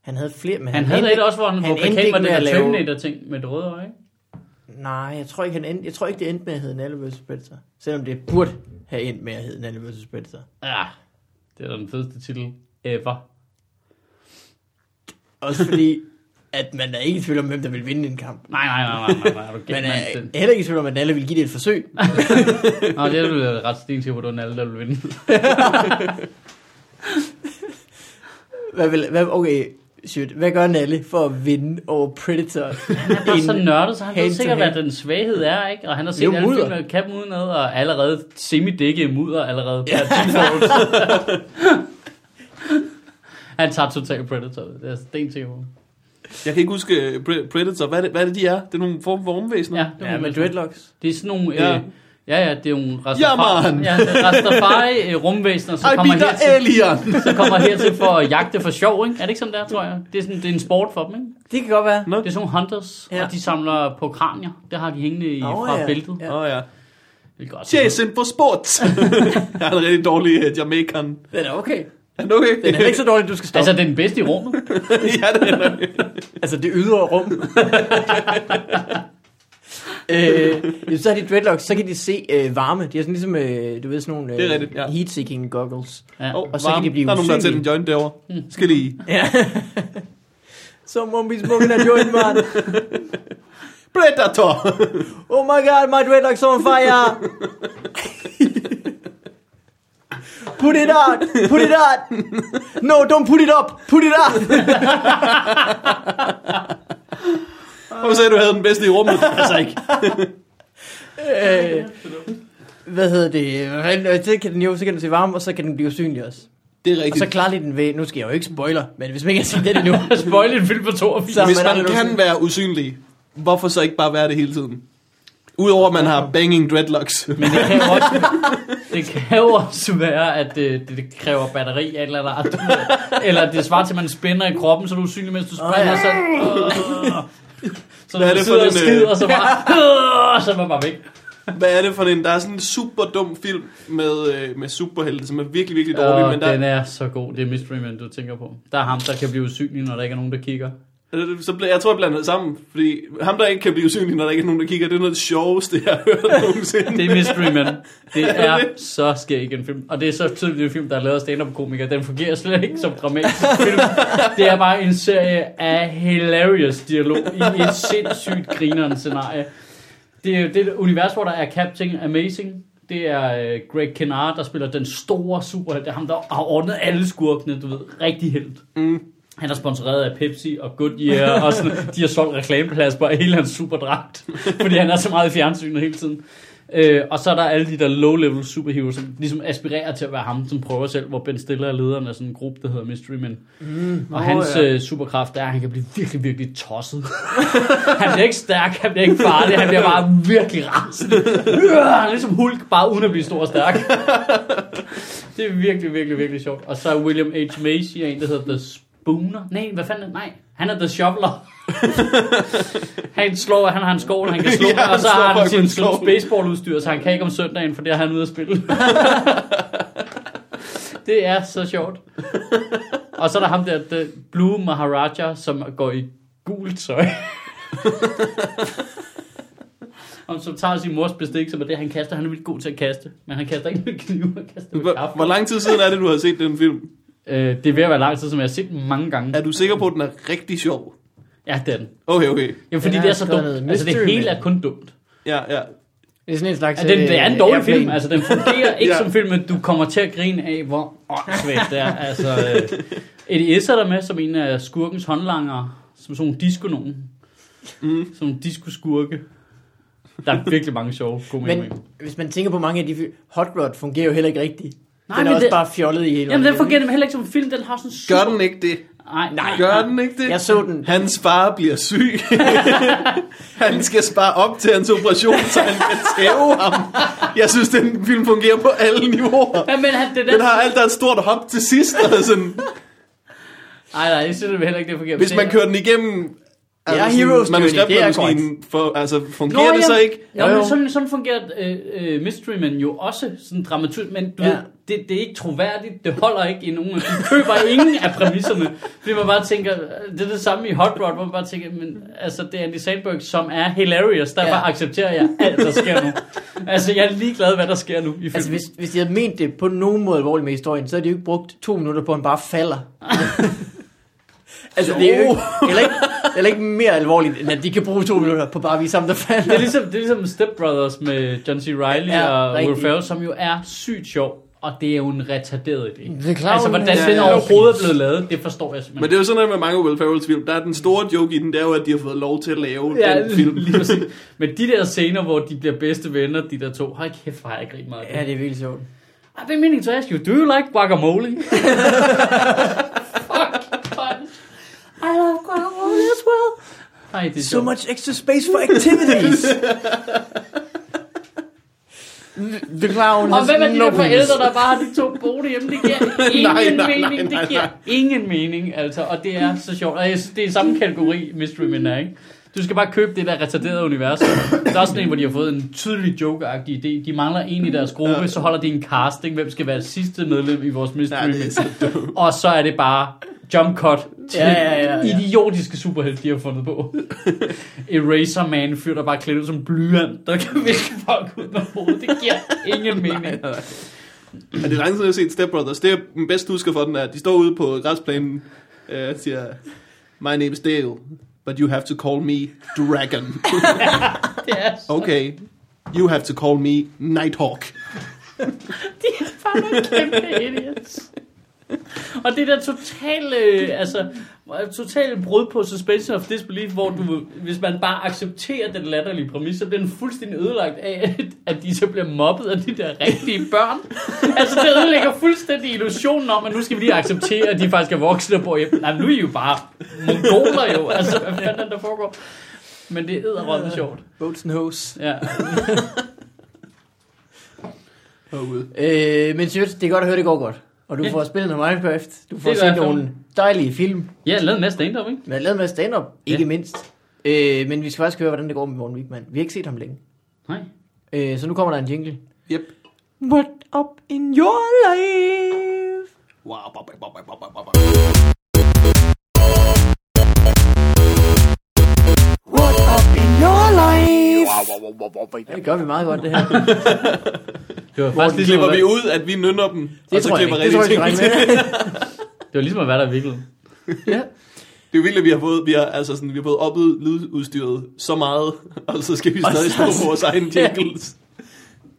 S2: Han havde flere, men
S3: Han havde da
S2: endte-
S3: et også, hvor han,
S2: han
S3: hvor
S2: endte
S3: plakat
S2: ikke
S3: var den
S2: med
S3: der
S2: at lave-
S3: Terminator-ting med det røde øje. ikke?
S2: Nej, jeg tror ikke, han endte, jeg tror ikke det endte med at hedde Nalle vs. Predator. Selvom det burde have endt med at hedde Nalle vs. Predator.
S3: Ja, det er da den fedeste titel ever.
S2: Også fordi, at man er ikke i tvivl om, hvem der vil vinde en kamp.
S3: Nej, nej, nej, nej, nej, nej, er du gæld,
S2: Man er
S3: mand.
S2: heller ikke i tvivl om, at Nalle vil give det et forsøg.
S3: Nå, det er du da ret sten til, hvor du er alle, der vil vinde.
S2: Hvad vil, hvad, okay, shit. Hvad gør Nalle for at vinde over Predator?
S3: Han er bare så nørdet, så han ved
S2: hand to
S3: sikkert,
S2: hand.
S3: hvad den svaghed er, ikke? Og han har
S2: Det er
S3: set
S2: jo
S3: alle
S2: mudder.
S3: filmene, kan dem udenad, og allerede semi-dække mudder allerede. Ja. han tager totalt Predator. Det er sten til, hvor.
S1: Jeg kan ikke huske øh, Pre- Predator. Hvad er det, hvad er det de er? Det er nogle form for ormvæsener?
S3: Ja, det
S2: Ja,
S3: må man
S2: med
S3: tro.
S2: dreadlocks.
S3: Det er sådan nogle... Ja.
S1: Ja.
S3: Øh, ja, ja, det er nogle
S1: Ja,
S3: Rastafari,
S1: man.
S3: ja, Rastafari øh, rumvæsener, som
S1: I
S3: kommer
S1: beat the
S3: hertil,
S1: alien!
S3: så kommer hertil for at jagte for sjov, ikke? Er det ikke sådan der, tror jeg? Det er, sådan, det er en sport for dem, ikke?
S2: Det kan godt være.
S1: Nå,
S3: Det er sådan nogle hunters, ja.
S2: Ja.
S3: og de samler på kranier. Det har de hængende i,
S2: Nå,
S3: oh, fra
S2: ja.
S3: ja. bæltet.
S2: Ja.
S1: Åh oh, ja.
S3: Det er godt.
S1: Jason for sport! jeg er en rigtig dårlig uh, jamaican.
S2: Den er okay.
S1: Er den okay?
S2: Den er ikke så dårlig, du skal stoppe.
S3: Altså,
S2: Altså,
S3: det er den bedste i rummet.
S1: ja, det er den.
S2: altså det ydre rum. øh, jamen, så har de dreadlocks, så kan de se øh, varme. De er sådan ligesom, øh, du ved, sådan nogle øh,
S1: Det er rigtigt, ja.
S2: heat-seeking goggles.
S3: Ja.
S1: Oh,
S3: Oh.
S1: og så varme. kan de blive Der er nogen, der har tændt en joint
S2: Mm.
S1: derovre. Skal lige.
S2: Ja. Someone be smoking a joint, man.
S1: Predator!
S2: Oh my god, my dreadlocks on fire. Put it out, put it out. No, don't put it up, put it out.
S1: Hvorfor sagde du, havde den bedste i rummet? altså ikke.
S2: Øh, hvad hedder det? Hvordan- Så kan den jo så kan den se varm, og så kan den blive usynlig også.
S1: Det er
S2: Og så
S1: rigtigt.
S2: klarer de den ved, nu skal jeg jo ikke spoiler, men hvis man ikke har set det endnu,
S3: Spoil en film på 82.
S2: Så-
S1: Hvis
S2: Men er
S1: man
S2: det
S1: kan
S2: sådan-
S1: være usynlig, hvorfor så ikke bare være det hele tiden? Udover at man har banging dreadlocks.
S3: Men det kan jo også, det kan jo også være, at det, det, det kræver batteri af et eller andet art. Eller det svarer til, at man spænder i kroppen, så du er usynlig, mens du springer.
S2: ja.
S3: Så, øh, så
S1: Hvad
S3: når
S1: er det
S3: du
S1: for
S3: sidder og
S1: en, øh,
S3: skider, så bare, øh, så er man bare væk.
S1: Hvad er det for en? Der er sådan en super dum film med, øh, med superhelte, som er virkelig, virkelig dårlig.
S3: Og
S1: men der,
S3: den er så god. Det er Mystery Man, du tænker på. Der er ham, der kan blive usynlig, når der ikke er nogen, der kigger.
S1: Øh, Så bl- jeg tror, jeg blander det sammen, fordi ham, der ikke kan blive usynlig, når der ikke er nogen, der kigger, det er noget af det sjoveste, jeg har hørt nogensinde.
S3: Det er Mystery Man. Det er så skæg en film. Og det er så tydeligt en film, der er lavet af stand-up-komikere. Den fungerer slet ikke som dramatisk film. Det er bare en serie af hilarious dialog i et sindssygt grinerende scenarie. Det er jo det er et univers, hvor der er Captain Amazing. Det er øh, Greg Kinnear, der spiller den store superhelt. Det er ham, der har ordnet alle skurkene, du ved. Rigtig helt. Han er sponsoreret af Pepsi og Goodyear, og sådan, de har solgt reklameplads på hele hans superdragt, fordi han er så meget i fjernsynet hele tiden. Øh, og så er der alle de der low-level superheroes, som ligesom aspirerer til at være ham, som prøver selv, hvor Ben Stiller er lederen af sådan en gruppe, der hedder Mystery Men. Mm, og hans
S1: ja.
S3: ja. øh, superkraft er, at han kan blive virkelig, virkelig tosset. han bliver ikke stærk, han bliver ikke farlig, han bliver bare virkelig rasende. Øh, ligesom Hulk, bare uden at blive stor og stærk. Det er virkelig, virkelig, virkelig sjovt. Og så er William H. Macy er en, der hedder The Spooner. Nej, hvad fanden? er- Nej, han er The Shoveler. han slår, han har en skål, han kan slå,
S1: Ja,
S3: ja,
S1: han
S3: og så
S1: slår
S3: har han
S1: fucking
S3: sin
S1: skovlen.
S3: baseballudstyr, så han kan ikke om søndagen, for det er han ude at spille. det er så sjovt. Og så er der ham der, The Blue Maharaja, som går i gult tøj. Og som tager sin mors bestik, som er det, han kaster. Han er vildt god til at kaste, men han kaster ikke med knive, han kaster med
S1: Hvor,
S3: kaffe.
S1: hvor lang tid siden er det, du har set den film?
S3: Øh, det er ved at være lang tid, som jeg har set den mange gange.
S1: Er du sikker på, at den er rigtig sjov?
S3: Ja, det er den.
S1: Okay, okay.
S3: Jamen, fordi
S2: Den er
S3: det er så
S2: skrevet
S3: dumt.
S2: noget
S3: Altså, det
S2: mystery,
S3: hele
S2: men-
S3: er kun dumt.
S1: Ja, ja.
S2: Det er sådan en slags...
S3: Altså, den, det er en
S2: øh,
S3: dårlig
S2: airplane.
S3: film. Altså, den fungerer ikke
S1: Ja.
S3: som film, men du kommer til at grine af, hvor åndssvagt det er. Altså, øh, Eddie Ess er der med som en af skurkens håndlanger, som sådan en disco nogen. Mm. Som en disco-skurke. Der er virkelig mange sjove komedier.
S2: Men hvis man tænker på mange af de... fil- Hot Rod fungerer jo heller ikke rigtigt.
S3: Nej,
S2: Nej, den er
S3: men
S2: også det...
S3: det-
S2: bare fjollet i hele
S3: Jamen, den
S2: vejen.
S3: fungerer heller ikke som en film. Den har sådan en super...
S1: Gør den ikke det?
S3: Ej, nej.
S1: Gør den ikke det?
S2: Jeg så den.
S1: Hans far bliver syg. han skal spare op til hans operation, så han kan tæve ham. Jeg synes, den film fungerer på alle niveauer.
S3: Ja, men han, det er
S1: Den har alt, der er et stort hop til sidst. Og sådan.
S3: Ej, nej, jeg synes det heller ikke, det fungerer.
S1: Hvis
S3: Det-
S1: man kører den igennem altså,
S2: Ja, Heroes
S1: sådan,
S2: Journey, det er
S1: manuskriptmaskinen, for, altså, fungerer det så
S3: jamen-
S1: ikke?
S3: Jo,
S2: Jo,
S3: jo.
S2: jo.
S3: Men sådan, sådan fungerer øh, øh, Mystery Man jo også sådan dramaturg, men du ja.
S2: Ja.
S3: ved, det, det er ikke troværdigt, det holder ikke i nogen, de køber ingen af præmisserne, fordi man bare tænker, øh, det er det samme i Hot Rod, hvor man bare tænker, men altså, det er Andy Sandberg, som er hilarious, derfor ja.
S2: Ja.
S3: accepterer jeg alt, der sker nu. Altså, jeg er ligeglad, hvad der sker nu i filmen.
S2: Altså, hvis, hvis de havde ment det på nogen måde alvorligt med historien, så havde de jo ikke brugt to minutter på, at han bare falder. altså, det er jo ikke, heller ikke, heller ikke mere alvorligt, end at de kan bruge to minutter på bare at vise ham, der falder.
S3: det, er ligesom, det er ligesom Step Brothers med John C. Reilly
S2: Ja,
S3: ja, og Will
S2: rigtig.
S3: Ferrell, som jo er sygt sjov, og det er jo en retarderet idé.
S2: The Clown
S3: altså, hvordan
S2: has
S3: den
S2: no
S3: overhovedet er
S2: peace.
S3: blevet lavet, det forstår jeg simpelthen
S1: Men det er jo sådan noget med mange af Will Ferrells film. Der er den store joke i den, det er jo, at de har fået lov til at lave
S3: Ja,
S1: den film.
S3: lige præcis. Men de der scener, hvor de bliver bedste venner, de der to, har kæft, hvor har jeg grinet meget. Ah,
S2: Ja,
S3: Ja.
S2: det er virkelig sjovt.
S3: I've been meaning to ask you, do you like guacamole? Fuck, fuck. I love guacamole as well. Ej, det er
S2: So much extra space for activities. The Clown
S3: Og
S2: has
S3: hvem er de
S2: no
S3: der forældre,
S2: peace.
S3: der bare har de to boende hjemme? Det giver ingen
S1: Nej, nej, nej,
S3: mening.
S1: nej,
S3: Det giver
S1: nej.
S3: ingen mening, altså. Og det er så sjovt. Og jeg synes, det er samme kategori, Mystery Men er, ikke? Du skal bare købe det der retarderede univers. Der er også sådan en, hvor de har fået en tydelig joke idé. De mangler en i deres gruppe, så holder de en casting. Hvem skal være sidste medlem i vores Mystery
S1: Ja, det er så
S3: Men? Og så er det bare jump cut til
S2: Ja, ja, ja, ja.
S3: idiotiske superhelt, de har fundet på. Eraser Man, fyr der bare er klædt ud som blyant, der kan viske folk ud med hovedet. Det giver ingen mening.
S1: Ja, det er lang tid, jeg har set Step Brothers. Det, jeg bedst husker for den, er, at de står ude på græsplænen og øh, siger, My name's Dale, but you have to call me Dragon.
S3: Det er så
S1: Okay, you have to call me Nighthawk.
S3: De er bare nogle kæmpe idiots. Og det der totale, øh, altså, totale brud på suspension of disbelief, hvor du, hvis man bare accepterer den latterlige præmis, så bliver den fuldstændig ødelagt af, at- at de så bliver mobbet af de der rigtige børn. Altså, det ødelægger fuldstændig illusionen om, at nu skal vi lige acceptere, at de faktisk er voksne og bor hjemme. Nej, nu er I jo bare mongoler jo. Altså, hvad fanden er det, der foregår? Men det er edderrømme sjovt.
S2: Boats and hose.
S3: Ja.
S1: Herude.
S2: Øh, men Sjøt, det er godt at høre, det går godt. Og du
S3: Ja.
S2: får spillet noget Minecraft. Du får
S3: Det er
S2: set
S3: i hvert fald.
S2: nogle dejlige film.
S3: Ja, lavet en masse stand-up, ikke?
S2: Men jeg lavede med stand-up, ikke
S3: Ja.
S2: mindst. Øh, men vi skal faktisk høre, hvordan det går med Morten Wigman. Vi har ikke set ham længe.
S3: Nej.
S2: Øh, så nu kommer der en jingle.
S1: Yep.
S2: What up in your life?
S1: Wow. bop, bop, bop, bop, bop, bop.
S2: Ja, Det gør vi meget godt, det her.
S3: Det var
S1: Morten,
S3: faktisk ligesom,
S1: klipper
S3: at,
S1: vi ud, at vi nynner dem,
S2: Det
S1: og så
S2: tror jeg
S1: klipper
S2: ikke. Det tror jeg,
S1: rigtig
S2: vi skal
S1: ting til.
S2: regne med.
S3: det var ligesom at være der i virkeligheden.
S2: Ja.
S1: Det er jo vildt, at vi har fået, vi har, altså sådan, vi har fået oppet lydudstyret så meget, og så skal vi
S2: Og
S1: stadig
S2: så-
S1: stå på vores egne
S2: Ja.
S1: jingles.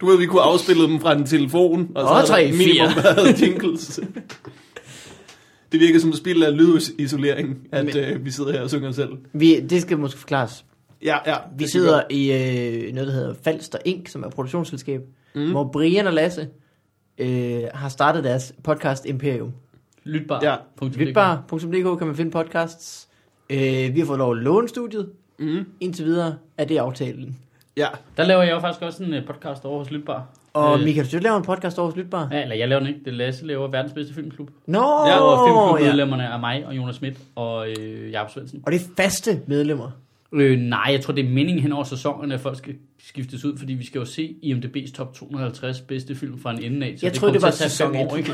S1: Du ved, vi kunne afspille dem fra en telefon, og så
S2: Og
S1: havde
S2: tre,
S1: der minimum
S2: fire.
S1: været jingles. Det virker som et spil af lydisolering, at
S2: Men-
S1: øh, vi sidder her og synger selv.
S2: Vi, det skal måske forklares.
S1: Ja, ja.
S2: Vi sidder i øh, noget, der hedder Falster Inc., som er et produktionsselskab, mm. hvor Brian og Lasse øh, har startet deres podcast Imperium.
S3: Lytbar.
S1: Ja.
S3: Punktum.
S2: Lytbar.dk kan man finde podcasts. Øh, vi har fået lov at låne studiet.
S1: Mm,
S2: Indtil videre er det aftalen.
S1: ja.
S3: Der laver jeg jo faktisk også en øh, podcast over hos Lytbar.
S2: Og
S3: Øh,
S2: Michael, du laver en podcast over hos Lytbar.
S3: Ja, eller jeg laver den ikke. Det er Lasse laver verdens bedste filmklub.
S2: Nå,
S1: Ja,
S3: Og
S2: ja.
S3: filmklubmedlemmerne er mig og Jonas Schmidt og øh, Jakob Svendsen.
S2: Og det er faste medlemmer.
S3: Øh, nej, jeg tror, det er meningen hen over sæsonerne, at folk skal skiftes ud, fordi vi skal jo se IMDb's top 250 bedste film fra en ende af. Så
S2: Jeg troede, det
S3: kommer
S2: var
S3: til at tage
S2: sæson
S3: fem år,
S2: et.
S3: ikke?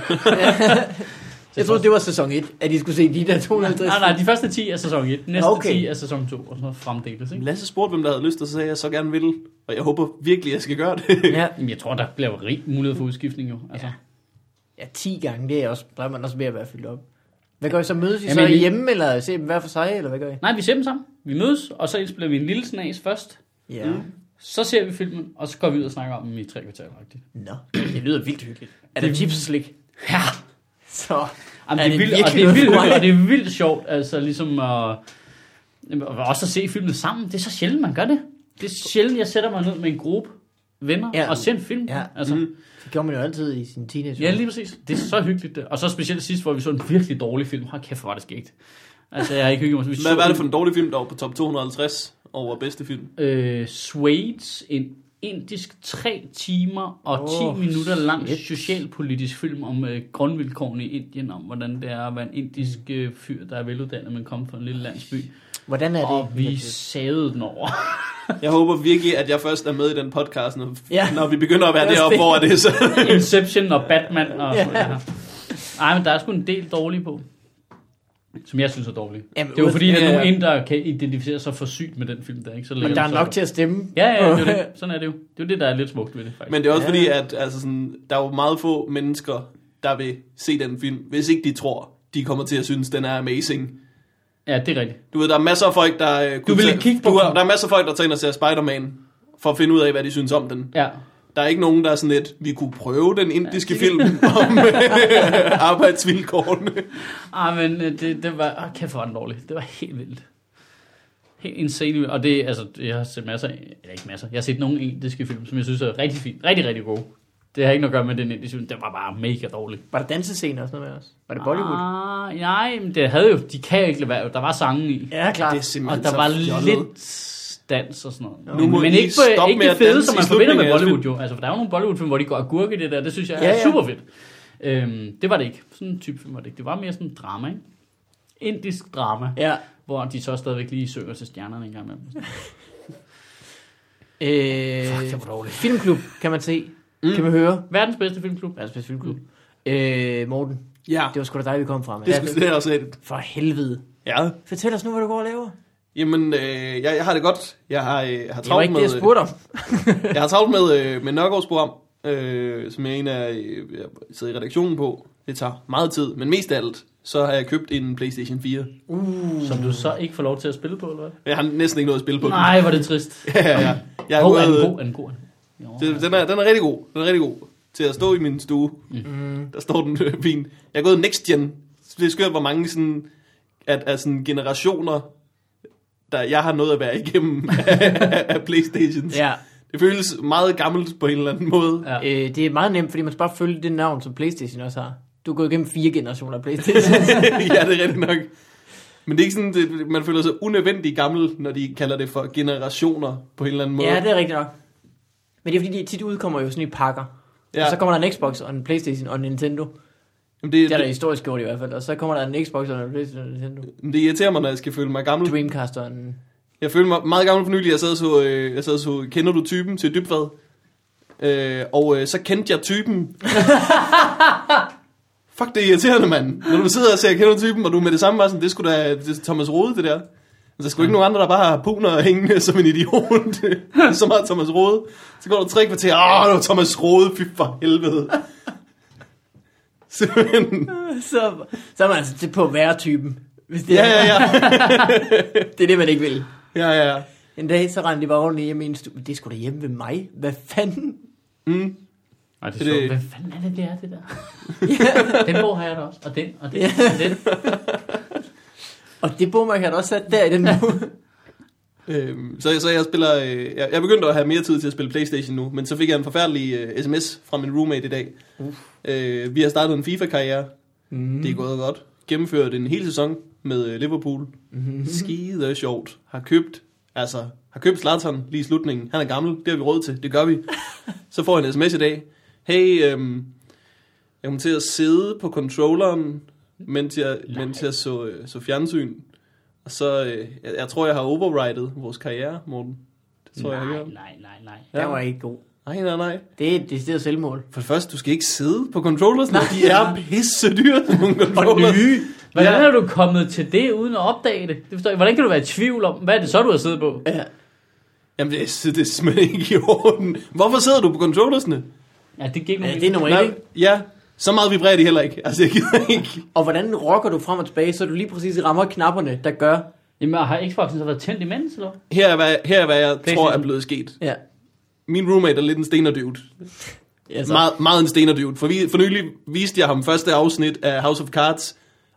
S2: Jeg troede, det var sæson 1, at I skulle se de der 250.
S3: Nej, nej, de første 10 er sæson 1, næste
S2: Okay.
S3: okay. 10 er sæson 2, og så fremdeles, ikke?
S1: Lasse spurgte, hvem der havde lyst, og så sagde jeg, at jeg så gerne vil. Og jeg håber virkelig, jeg skal gøre det.
S2: Ja,
S3: Jamen, jeg tror, der bliver jo rig mulighed for udskiftning jo. Altså.
S2: ja, 10 gange, det er også, der er man også ved at være fyldt op. Hvad gør I så? Mødes I så
S3: Jamen, vi-
S2: hjemme, eller ser dem hver for sig, eller hvad gør I?
S3: Nej, vi ser dem sammen. Vi mødes, og så indspiller vi en lille snas først.
S2: Ja. Mm.
S3: Så ser vi filmen, og så går vi ud og snakker om dem i tre kvartaler. rigtigt.
S2: Nå, det lyder vildt hyggeligt. Er der
S3: Det-
S2: chips og slik?
S3: Ja,
S2: Så.
S3: Jamen,
S2: Er
S3: er det,
S2: det
S3: er vildt, og
S2: virkelig
S3: det er
S2: noget
S3: vildt,
S2: for
S3: hyggeligt,
S2: mig?
S3: og det er vildt sjovt, altså ligesom at, jamen, og også at se filmen sammen. Det er så sjældent, man gør det. Det er sjældent, jeg sætter mig ned med en gruppe venner
S2: Ja.
S3: ja. og ser en film.
S2: Ja.
S3: Altså, mm.
S2: Det gjorde man jo altid i sin teenage.
S3: ja, lige præcis. Det er så hyggeligt. Det. Og så specielt sidst, hvor vi så en virkelig dårlig film. Hold kæft, hvor var det skægt. Altså, jeg har ikke hygget mig. så vi
S1: Hvad
S3: så
S1: var det for
S3: en-
S1: en dårlig film, der var på top 250 over bedste film?
S3: øh, Swades, en indisk 3 timer og 10
S2: Åh,
S3: minutter lang
S2: shit.
S3: socialpolitisk film om øh, grundvilkårene i Indien, om hvordan det er at være en indisk øh, fyr, der er veluddannet, men kommer fra en lille landsby.
S2: Hvordan Mm. er det?
S3: Og vi savede den over.
S1: Jeg håber virkelig, at jeg først er med i den podcast, når,
S2: Ja.
S1: ja. når vi begynder at være
S2: Lad os
S1: deroppe,
S2: se.
S1: hvor er det så.
S3: Inception og Batman og
S2: Ja.
S3: sådan noget. Ej, men der er sgu en del dårlige på. Som jeg synes er dårlige.
S2: Jamen,
S3: det er jo
S2: ud-
S3: fordi, der
S1: ja,
S3: er
S1: ja.
S3: nogen indere kan identificere sig for sygt med den film der, ikke? Så
S2: Men
S3: lægger
S2: der
S3: de
S2: er
S3: sig
S2: nok
S3: op.
S2: til at stemme.
S3: Ja, ja, det er jo det. Sådan er det jo. Det er jo det, der er lidt smukt ved det, faktisk.
S1: Men det er også
S2: Ja.
S1: ja. fordi, at altså sådan, der er jo meget få mennesker, der vil se den film, hvis ikke de tror, de kommer til at synes, den er amazing.
S3: Ja, det er rigtigt.
S1: Du ved, der er masser af folk, der... øh, kunne
S3: vil
S1: tage-
S3: ikke kigge på
S1: du har,
S3: den.
S1: Der er masser af folk, der tager ind og ser Spider-Man, for at finde ud af, hvad de synes om den.
S3: Ja.
S1: Der er ikke nogen, der er sådan lidt, vi kunne prøve den indiske film om øh, arbejdsvilkårene.
S3: Ej, men øh, det, det var... Åh, kæft, hvor var den dårlig. Det var helt vildt. Helt insane. Og det, altså, jeg har set masser af, eller ikke masser, jeg har set nogle indiske film, som jeg synes er rigtig fint, rigtig, rigtig gode. Det har ikke noget at gøre med den indiske film, den var bare mega dårlig.
S2: Var der dansescener og sådan noget med os? Var det Bollywood?
S3: Ah, nej, men det havde jo, de kan jo ikke lade være, der var sangen i.
S2: Ja, klart.
S1: Det er simpelthen
S3: Og der
S1: så
S3: var
S1: fjollet.
S3: lidt dans og sådan noget.
S1: Nu må
S3: men
S1: I
S3: ikke, på,
S1: stoppe
S3: ikke
S1: med
S3: det
S1: at
S3: fede,
S1: danse
S3: som
S1: i
S3: man forbinder
S1: slutningen
S3: med
S1: af jeres
S3: Bollywood jo. Altså, for der er jo nogle Bollywood-film, hvor de går agurk i det der. Det synes jeg
S2: Ja,
S3: ja, er
S2: ja.
S3: super fedt. Øhm, det var det ikke. Sådan en type film var det ikke. Det var mere sådan en drama, ikke? Indisk drama, ja.
S2: Ja.
S3: hvor de så stadigvæk lige søger til stjernerne en gang imellem.
S2: Øh,
S3: det var dårligt.
S2: filmklub kan man se. Mm. Kan man høre.
S3: Verdens bedste filmklub.
S2: Verdens bedste filmklub. Øh, Morten,
S1: Ja,
S2: det var sgu da dig, vi kom fra med.
S1: det skulle det er også lidt.
S2: For helvede.
S1: Ja.
S2: Fortæl os nu, hvad du går og laver.
S1: Jamen, øh, jeg, jeg har det godt. Jeg har, øh, har
S2: Det var
S1: travlt
S2: ikke
S1: med...
S2: det, jeg spurgte om.
S1: jeg har travlt med, øh, med Nørgaards program, øh, som jeg er en af, øh, jeg sidder i redaktionen på. Det tager meget tid, men mest af alt, så har jeg købt en Playstation 4.
S3: Uh. Som du så ikke får lov til at spille på, eller hvad?
S1: Jeg har næsten ikke noget at spille på. den.
S3: Nej, hvor er det trist.
S1: ja, ja, ja. Jeg
S3: Jeg
S1: er
S3: er,
S1: ude,
S3: er den god, er den god? Er den god? Jo,
S1: det, den, er, den er rigtig god. Den er rigtig god til at stå i min stue. Mm. Der står den øh, fint. Jeg er gået next gen. Så Det er skørt, hvor mange sådan, at, at sådan generationer, der jeg har noget at være igennem af, af Playstations.
S2: Ja.
S1: Det føles meget gammelt på en eller anden måde.
S3: Ja.
S2: Øh, det er meget nemt, fordi man skal bare følge det navn, som Playstation også har. Du er gået igennem fire generationer af Playstation.
S1: ja, det er rigtigt nok. Men det er ikke sådan, det, man føler sig unødvendigt gammel, når de kalder det for generationer på en eller anden måde.
S2: ja, det er rigtigt nok. Men det er fordi, de tit udkommer jo sådan i pakker. Ja.
S1: Ja.
S2: Og så kommer der en Xbox og en Playstation og en Nintendo.
S1: Jamen, det,
S2: altså, Det er der
S1: det,
S2: historisk gjort i hvert fald. Og så kommer der en Xbox og en Playstation og en Nintendo.
S1: det, det irriterer mig, når jeg skal føle mig gammel.
S2: Dreamcast og en...
S1: Jeg føler mig meget gammel for nylig. Jeg sad og så, øh, jeg sad og så kender du typen til dybvad? Øh, og øh, så kendte jeg typen. Fuck, det er irriterende, mand. Når du sidder og ser kender du typen, og du med det samme var sådan, det skulle da det er Thomas Rode, det der. Der er sgu ikke nogen andre, der bare har puner hængende som en idiot. så meget Thomas Rode. Så går der tre kvarter. Åh, det var Thomas Rode. Fy for helvede. Simpelthen.
S2: så, så er man altså til på værtypen. Hvis det,
S1: Ja,
S2: er,
S1: ja, ja.
S2: det er det, man ikke vil.
S1: Ja, ja, ja.
S2: En dag, så rendte de bare ordentligt hjem i en studie. Det skulle da hjemme ved mig. Hvad fanden?
S1: Mm.
S3: Ej, det
S1: Det-
S3: er sjovt. Hvad fanden er det, det er, det der? den bog har jeg da også, og den, og den, og den.
S2: Og det bogmærke har du også sat der i den nu.
S1: Øhm, så, så jeg spiller... Øh, jeg, jeg begyndte at have mere tid til at spille Playstation nu, men så fik jeg en forfærdelig øh, sms fra min roommate i dag. Øh, vi har startet en FIFA-karriere. Mm. Det er gået godt. Gennemført en hel sæson med øh, Liverpool. Mm. Skide sjovt. Har købt... Altså, har købt Zlatan lige i slutningen. Han er gammel. Det har vi råd til. Det gør vi. så får jeg en sms i dag. Hey, øhm, jeg kom til at sidde på controlleren, mens jeg, mens jeg så, øh, så fjernsyn. Og så, øh, jeg, jeg tror, jeg har overridet vores karriere, Morten. Det tror jeg, jeg har
S3: Nej,
S1: gjort.
S3: nej, nej, nej.
S2: Den var ikke god.
S1: Nej, nej, nej.
S2: Det er et decideret selvmål.
S1: For det første, du skal ikke sidde på controllers, når de er pisse dyre, sådan nogle controllers.
S2: nye.
S3: Hvordan
S1: Ja.
S3: er du kommet til det, uden at opdage det? det forstår jeg. ikke. Hvordan kan du være i tvivl om, hvad er det så, du har siddet på?
S2: Ja.
S1: Jamen, det er, det er simpelthen ikke i orden. Hvorfor sidder du på controllersne?
S3: Ja, det gik
S2: ja, det er nummer et. ikke?
S1: ja, så meget vibrerer de heller ikke. Altså, jeg gider ikke.
S2: Og hvordan rocker du frem og tilbage, så du lige præcis rammer knapperne, der gør...
S3: Jamen, har Xboxen så været tændt imens, eller? hvad?
S1: Her er, hvad, her er, hvad jeg tror er
S3: PlayStation.
S1: blevet sket.
S2: Ja.
S1: Min roommate er lidt en stenerdude.
S2: Altså,
S1: Meget, meget en stenerdude. For, vi, for nylig viste jeg ham første afsnit af House of Cards.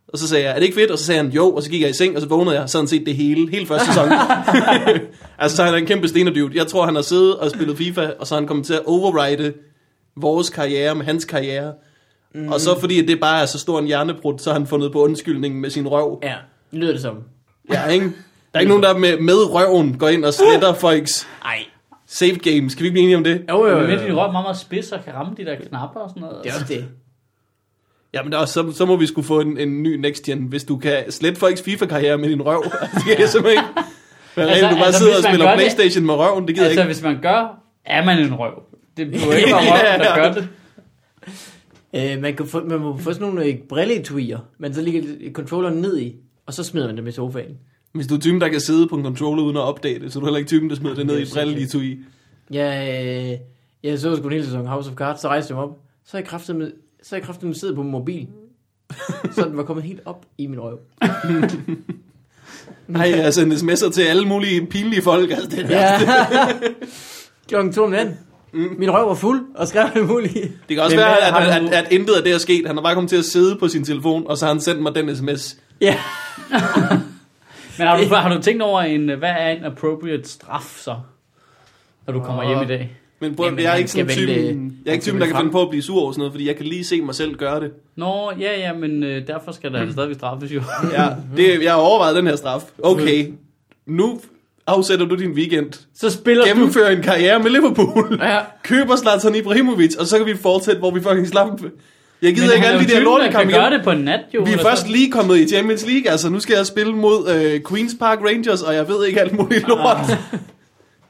S1: Og så sagde jeg, er det ikke fedt? Og så sagde han, jo. Og så gik jeg i seng, og så vågnede jeg og så havde han set det hele. Hele første sæson. altså, så han er en kæmpe stenerdude. Jeg tror, han har siddet og spillet FIFA, og så er han kommet til at override vores karriere med hans karriere. Mm. Og så fordi at det bare er så stor en hjernebrud, så har han fundet på undskyldningen med sin røv.
S2: Ja, lyder det som.
S1: Ja, ikke? Der er ikke nogen, der med, med røven går ind og sletter folks
S2: Ej.
S1: save games. Skal vi ikke blive enige om det?
S2: Jo, jo,
S3: Men
S2: jo.
S3: med din
S2: jo.
S3: røv meget, meget spids og kan ramme de der knapper og sådan noget.
S2: Det
S3: Altså,
S2: er også det.
S1: Jamen, der, er også- så, så må vi skulle få en, en ny next gen, hvis du kan slette folks FIFA-karriere med din røv. Altså, det kan jeg simpelthen ikke. Hvad
S3: Altså,
S1: altså, du bare altså,
S3: altså,
S1: sidder
S3: hvis
S1: og
S3: man
S1: spiller
S3: gør det-
S1: Playstation det... med røven, det gider
S3: Altså,
S1: altså, jeg ikke.
S3: hvis man gør, er man en røv. Det burde ikke være røv, der gør det.
S2: Øh, man, kan få, man må få sådan nogle øh, brilletuier, men så ligger controlleren ned i, og så smider man dem i sofaen.
S1: Hvis du er typen, der kan sidde på en controller uden at opdage det, så er du heller ikke typen, der smider det ned i et brilleetui.
S2: Jeg, øh, jeg så sgu en hel sæson House of Cards, så rejste jeg mig op. Så er jeg kraftet med, så er jeg kraftet med siddet på min mobil. så den var kommet helt op i min røv.
S1: Nej, jeg sender sms'er til alle mulige pinlige folk. Altså, det, ja.
S2: Ja. Klokken to om natten. Min røv var fuld og skrev det muligt.
S1: det kan også
S3: Men
S1: være,
S3: hvad har
S1: at,
S3: du-
S1: at, at, at, intet af det er sket. Han har bare kommet til at sidde på sin telefon, og så har han sendt mig den sms.
S2: Ja.
S3: Men har du, har du tænkt over, en, hvad er en appropriate straf så, når du kommer hjem i dag?
S1: Men prøv,
S2: Jamen,
S1: Jamen, jeg er
S2: han
S1: ikke sådan
S2: skal
S1: typen, jeg
S2: vente-
S1: er
S2: han
S1: ikke
S2: skal
S1: typen, der kan
S2: vente
S1: finde på at blive sur over sådan noget, fordi jeg kan lige se mig selv gøre det.
S3: Nå, ja, ja, men øh, derfor skal
S2: Mm.
S3: der stadigvæk straffes jo.
S1: Ja, det, jeg har overvejet den her straf. Okay, nu afsætter du din weekend.
S3: Mm. Så spiller du...
S1: Gennemfører en karriere med Liverpool.
S3: Ja.
S1: Køber Zlatan Ibrahimovic, og så kan vi fortsætte, hvor vi fucking slap. Jeg gider
S3: Men
S1: ikke
S3: han
S1: alle
S3: er
S1: de
S3: jo
S1: der
S3: typen,
S1: lortekampe
S3: kan gøre
S1: igen.
S3: det Altså- på en nat, jo.
S1: Vi er
S3: eller
S1: først
S3: sådan.
S1: lige kommet i Champions League, altså nu skal jeg spille mod øh, Queen's Park Rangers, og jeg ved ikke alt muligt lort.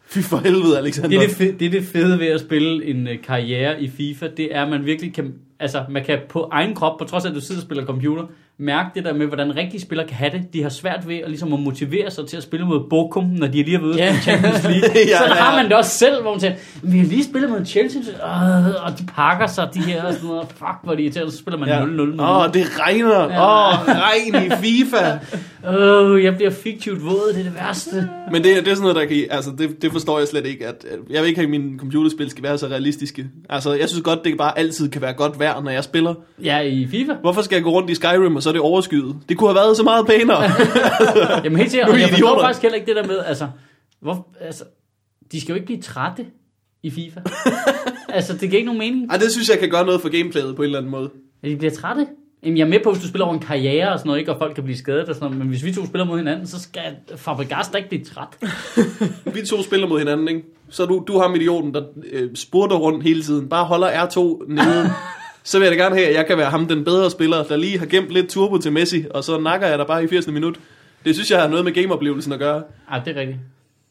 S1: Fy for helvede, Alexander.
S3: Ah. Det er det, fede, det er det fede ved at spille en øh, karriere i FIFA, det er, at man virkelig kan, altså man kan på egen krop, på trods af at du sidder og spiller computer, mærke det der med, hvordan rigtige spillere kan have det. De har svært ved at, ligesom at motivere sig til at spille mod Bochum, når de lige har været ude
S2: Ja.
S3: yeah. Champions League.
S1: Ja,
S3: Sådan
S1: ja.
S3: har man det også selv, hvor man siger, vi har lige spillet mod Chelsea, øh, og de pakker sig, de her, og sådan noget, fuck, hvor er de irriterende, så spiller man 0-0
S1: Ja.
S3: med
S1: Åh, oh, det regner. Åh,
S3: Ja.
S1: oh, regn i FIFA.
S3: nogen. Øh, jeg bliver fiktivt våd, det er det værste.
S1: Men det, det er sådan noget, der kan... Altså, det, det forstår jeg slet ikke. At, at jeg vil ikke have, at mine computerspil skal være så realistiske. Altså, jeg synes godt, det bare altid kan være godt vejr, når jeg spiller.
S3: Ja, i FIFA.
S1: Hvorfor skal jeg gå rundt i Skyrim, og så er det overskyet? Det kunne have været så meget pænere.
S3: Jamen helt sikkert,
S1: Nu er
S3: og
S1: I
S3: jeg forstår
S1: idioter.
S3: faktisk heller ikke det der med, altså, hvor, altså, de skal jo ikke blive trætte i FIFA. altså, det giver ikke nogen mening,
S1: Ej, det synes jeg kan gøre noget for gameplayet på en eller anden måde.
S3: at de bliver trætte. Jamen, jeg er med på, hvis du spiller over en karriere og sådan noget, ikke, og folk kan blive skadet og sådan noget, men hvis vi to spiller mod hinanden, så skal Fabregas da ikke blive træt.
S1: Vi to spiller mod hinanden, ikke? Så du, du har ham idioten, der øh, spurter rundt hele tiden. Bare holder R2 nede. Så vil jeg da gerne have, at jeg kan være ham den bedre spiller, der lige har gemt lidt turbo til Messi, og så nakker jeg dig bare i 80. minut. Det synes jeg har noget med gameoplevelsen at gøre.
S3: Ej, det er rigtigt.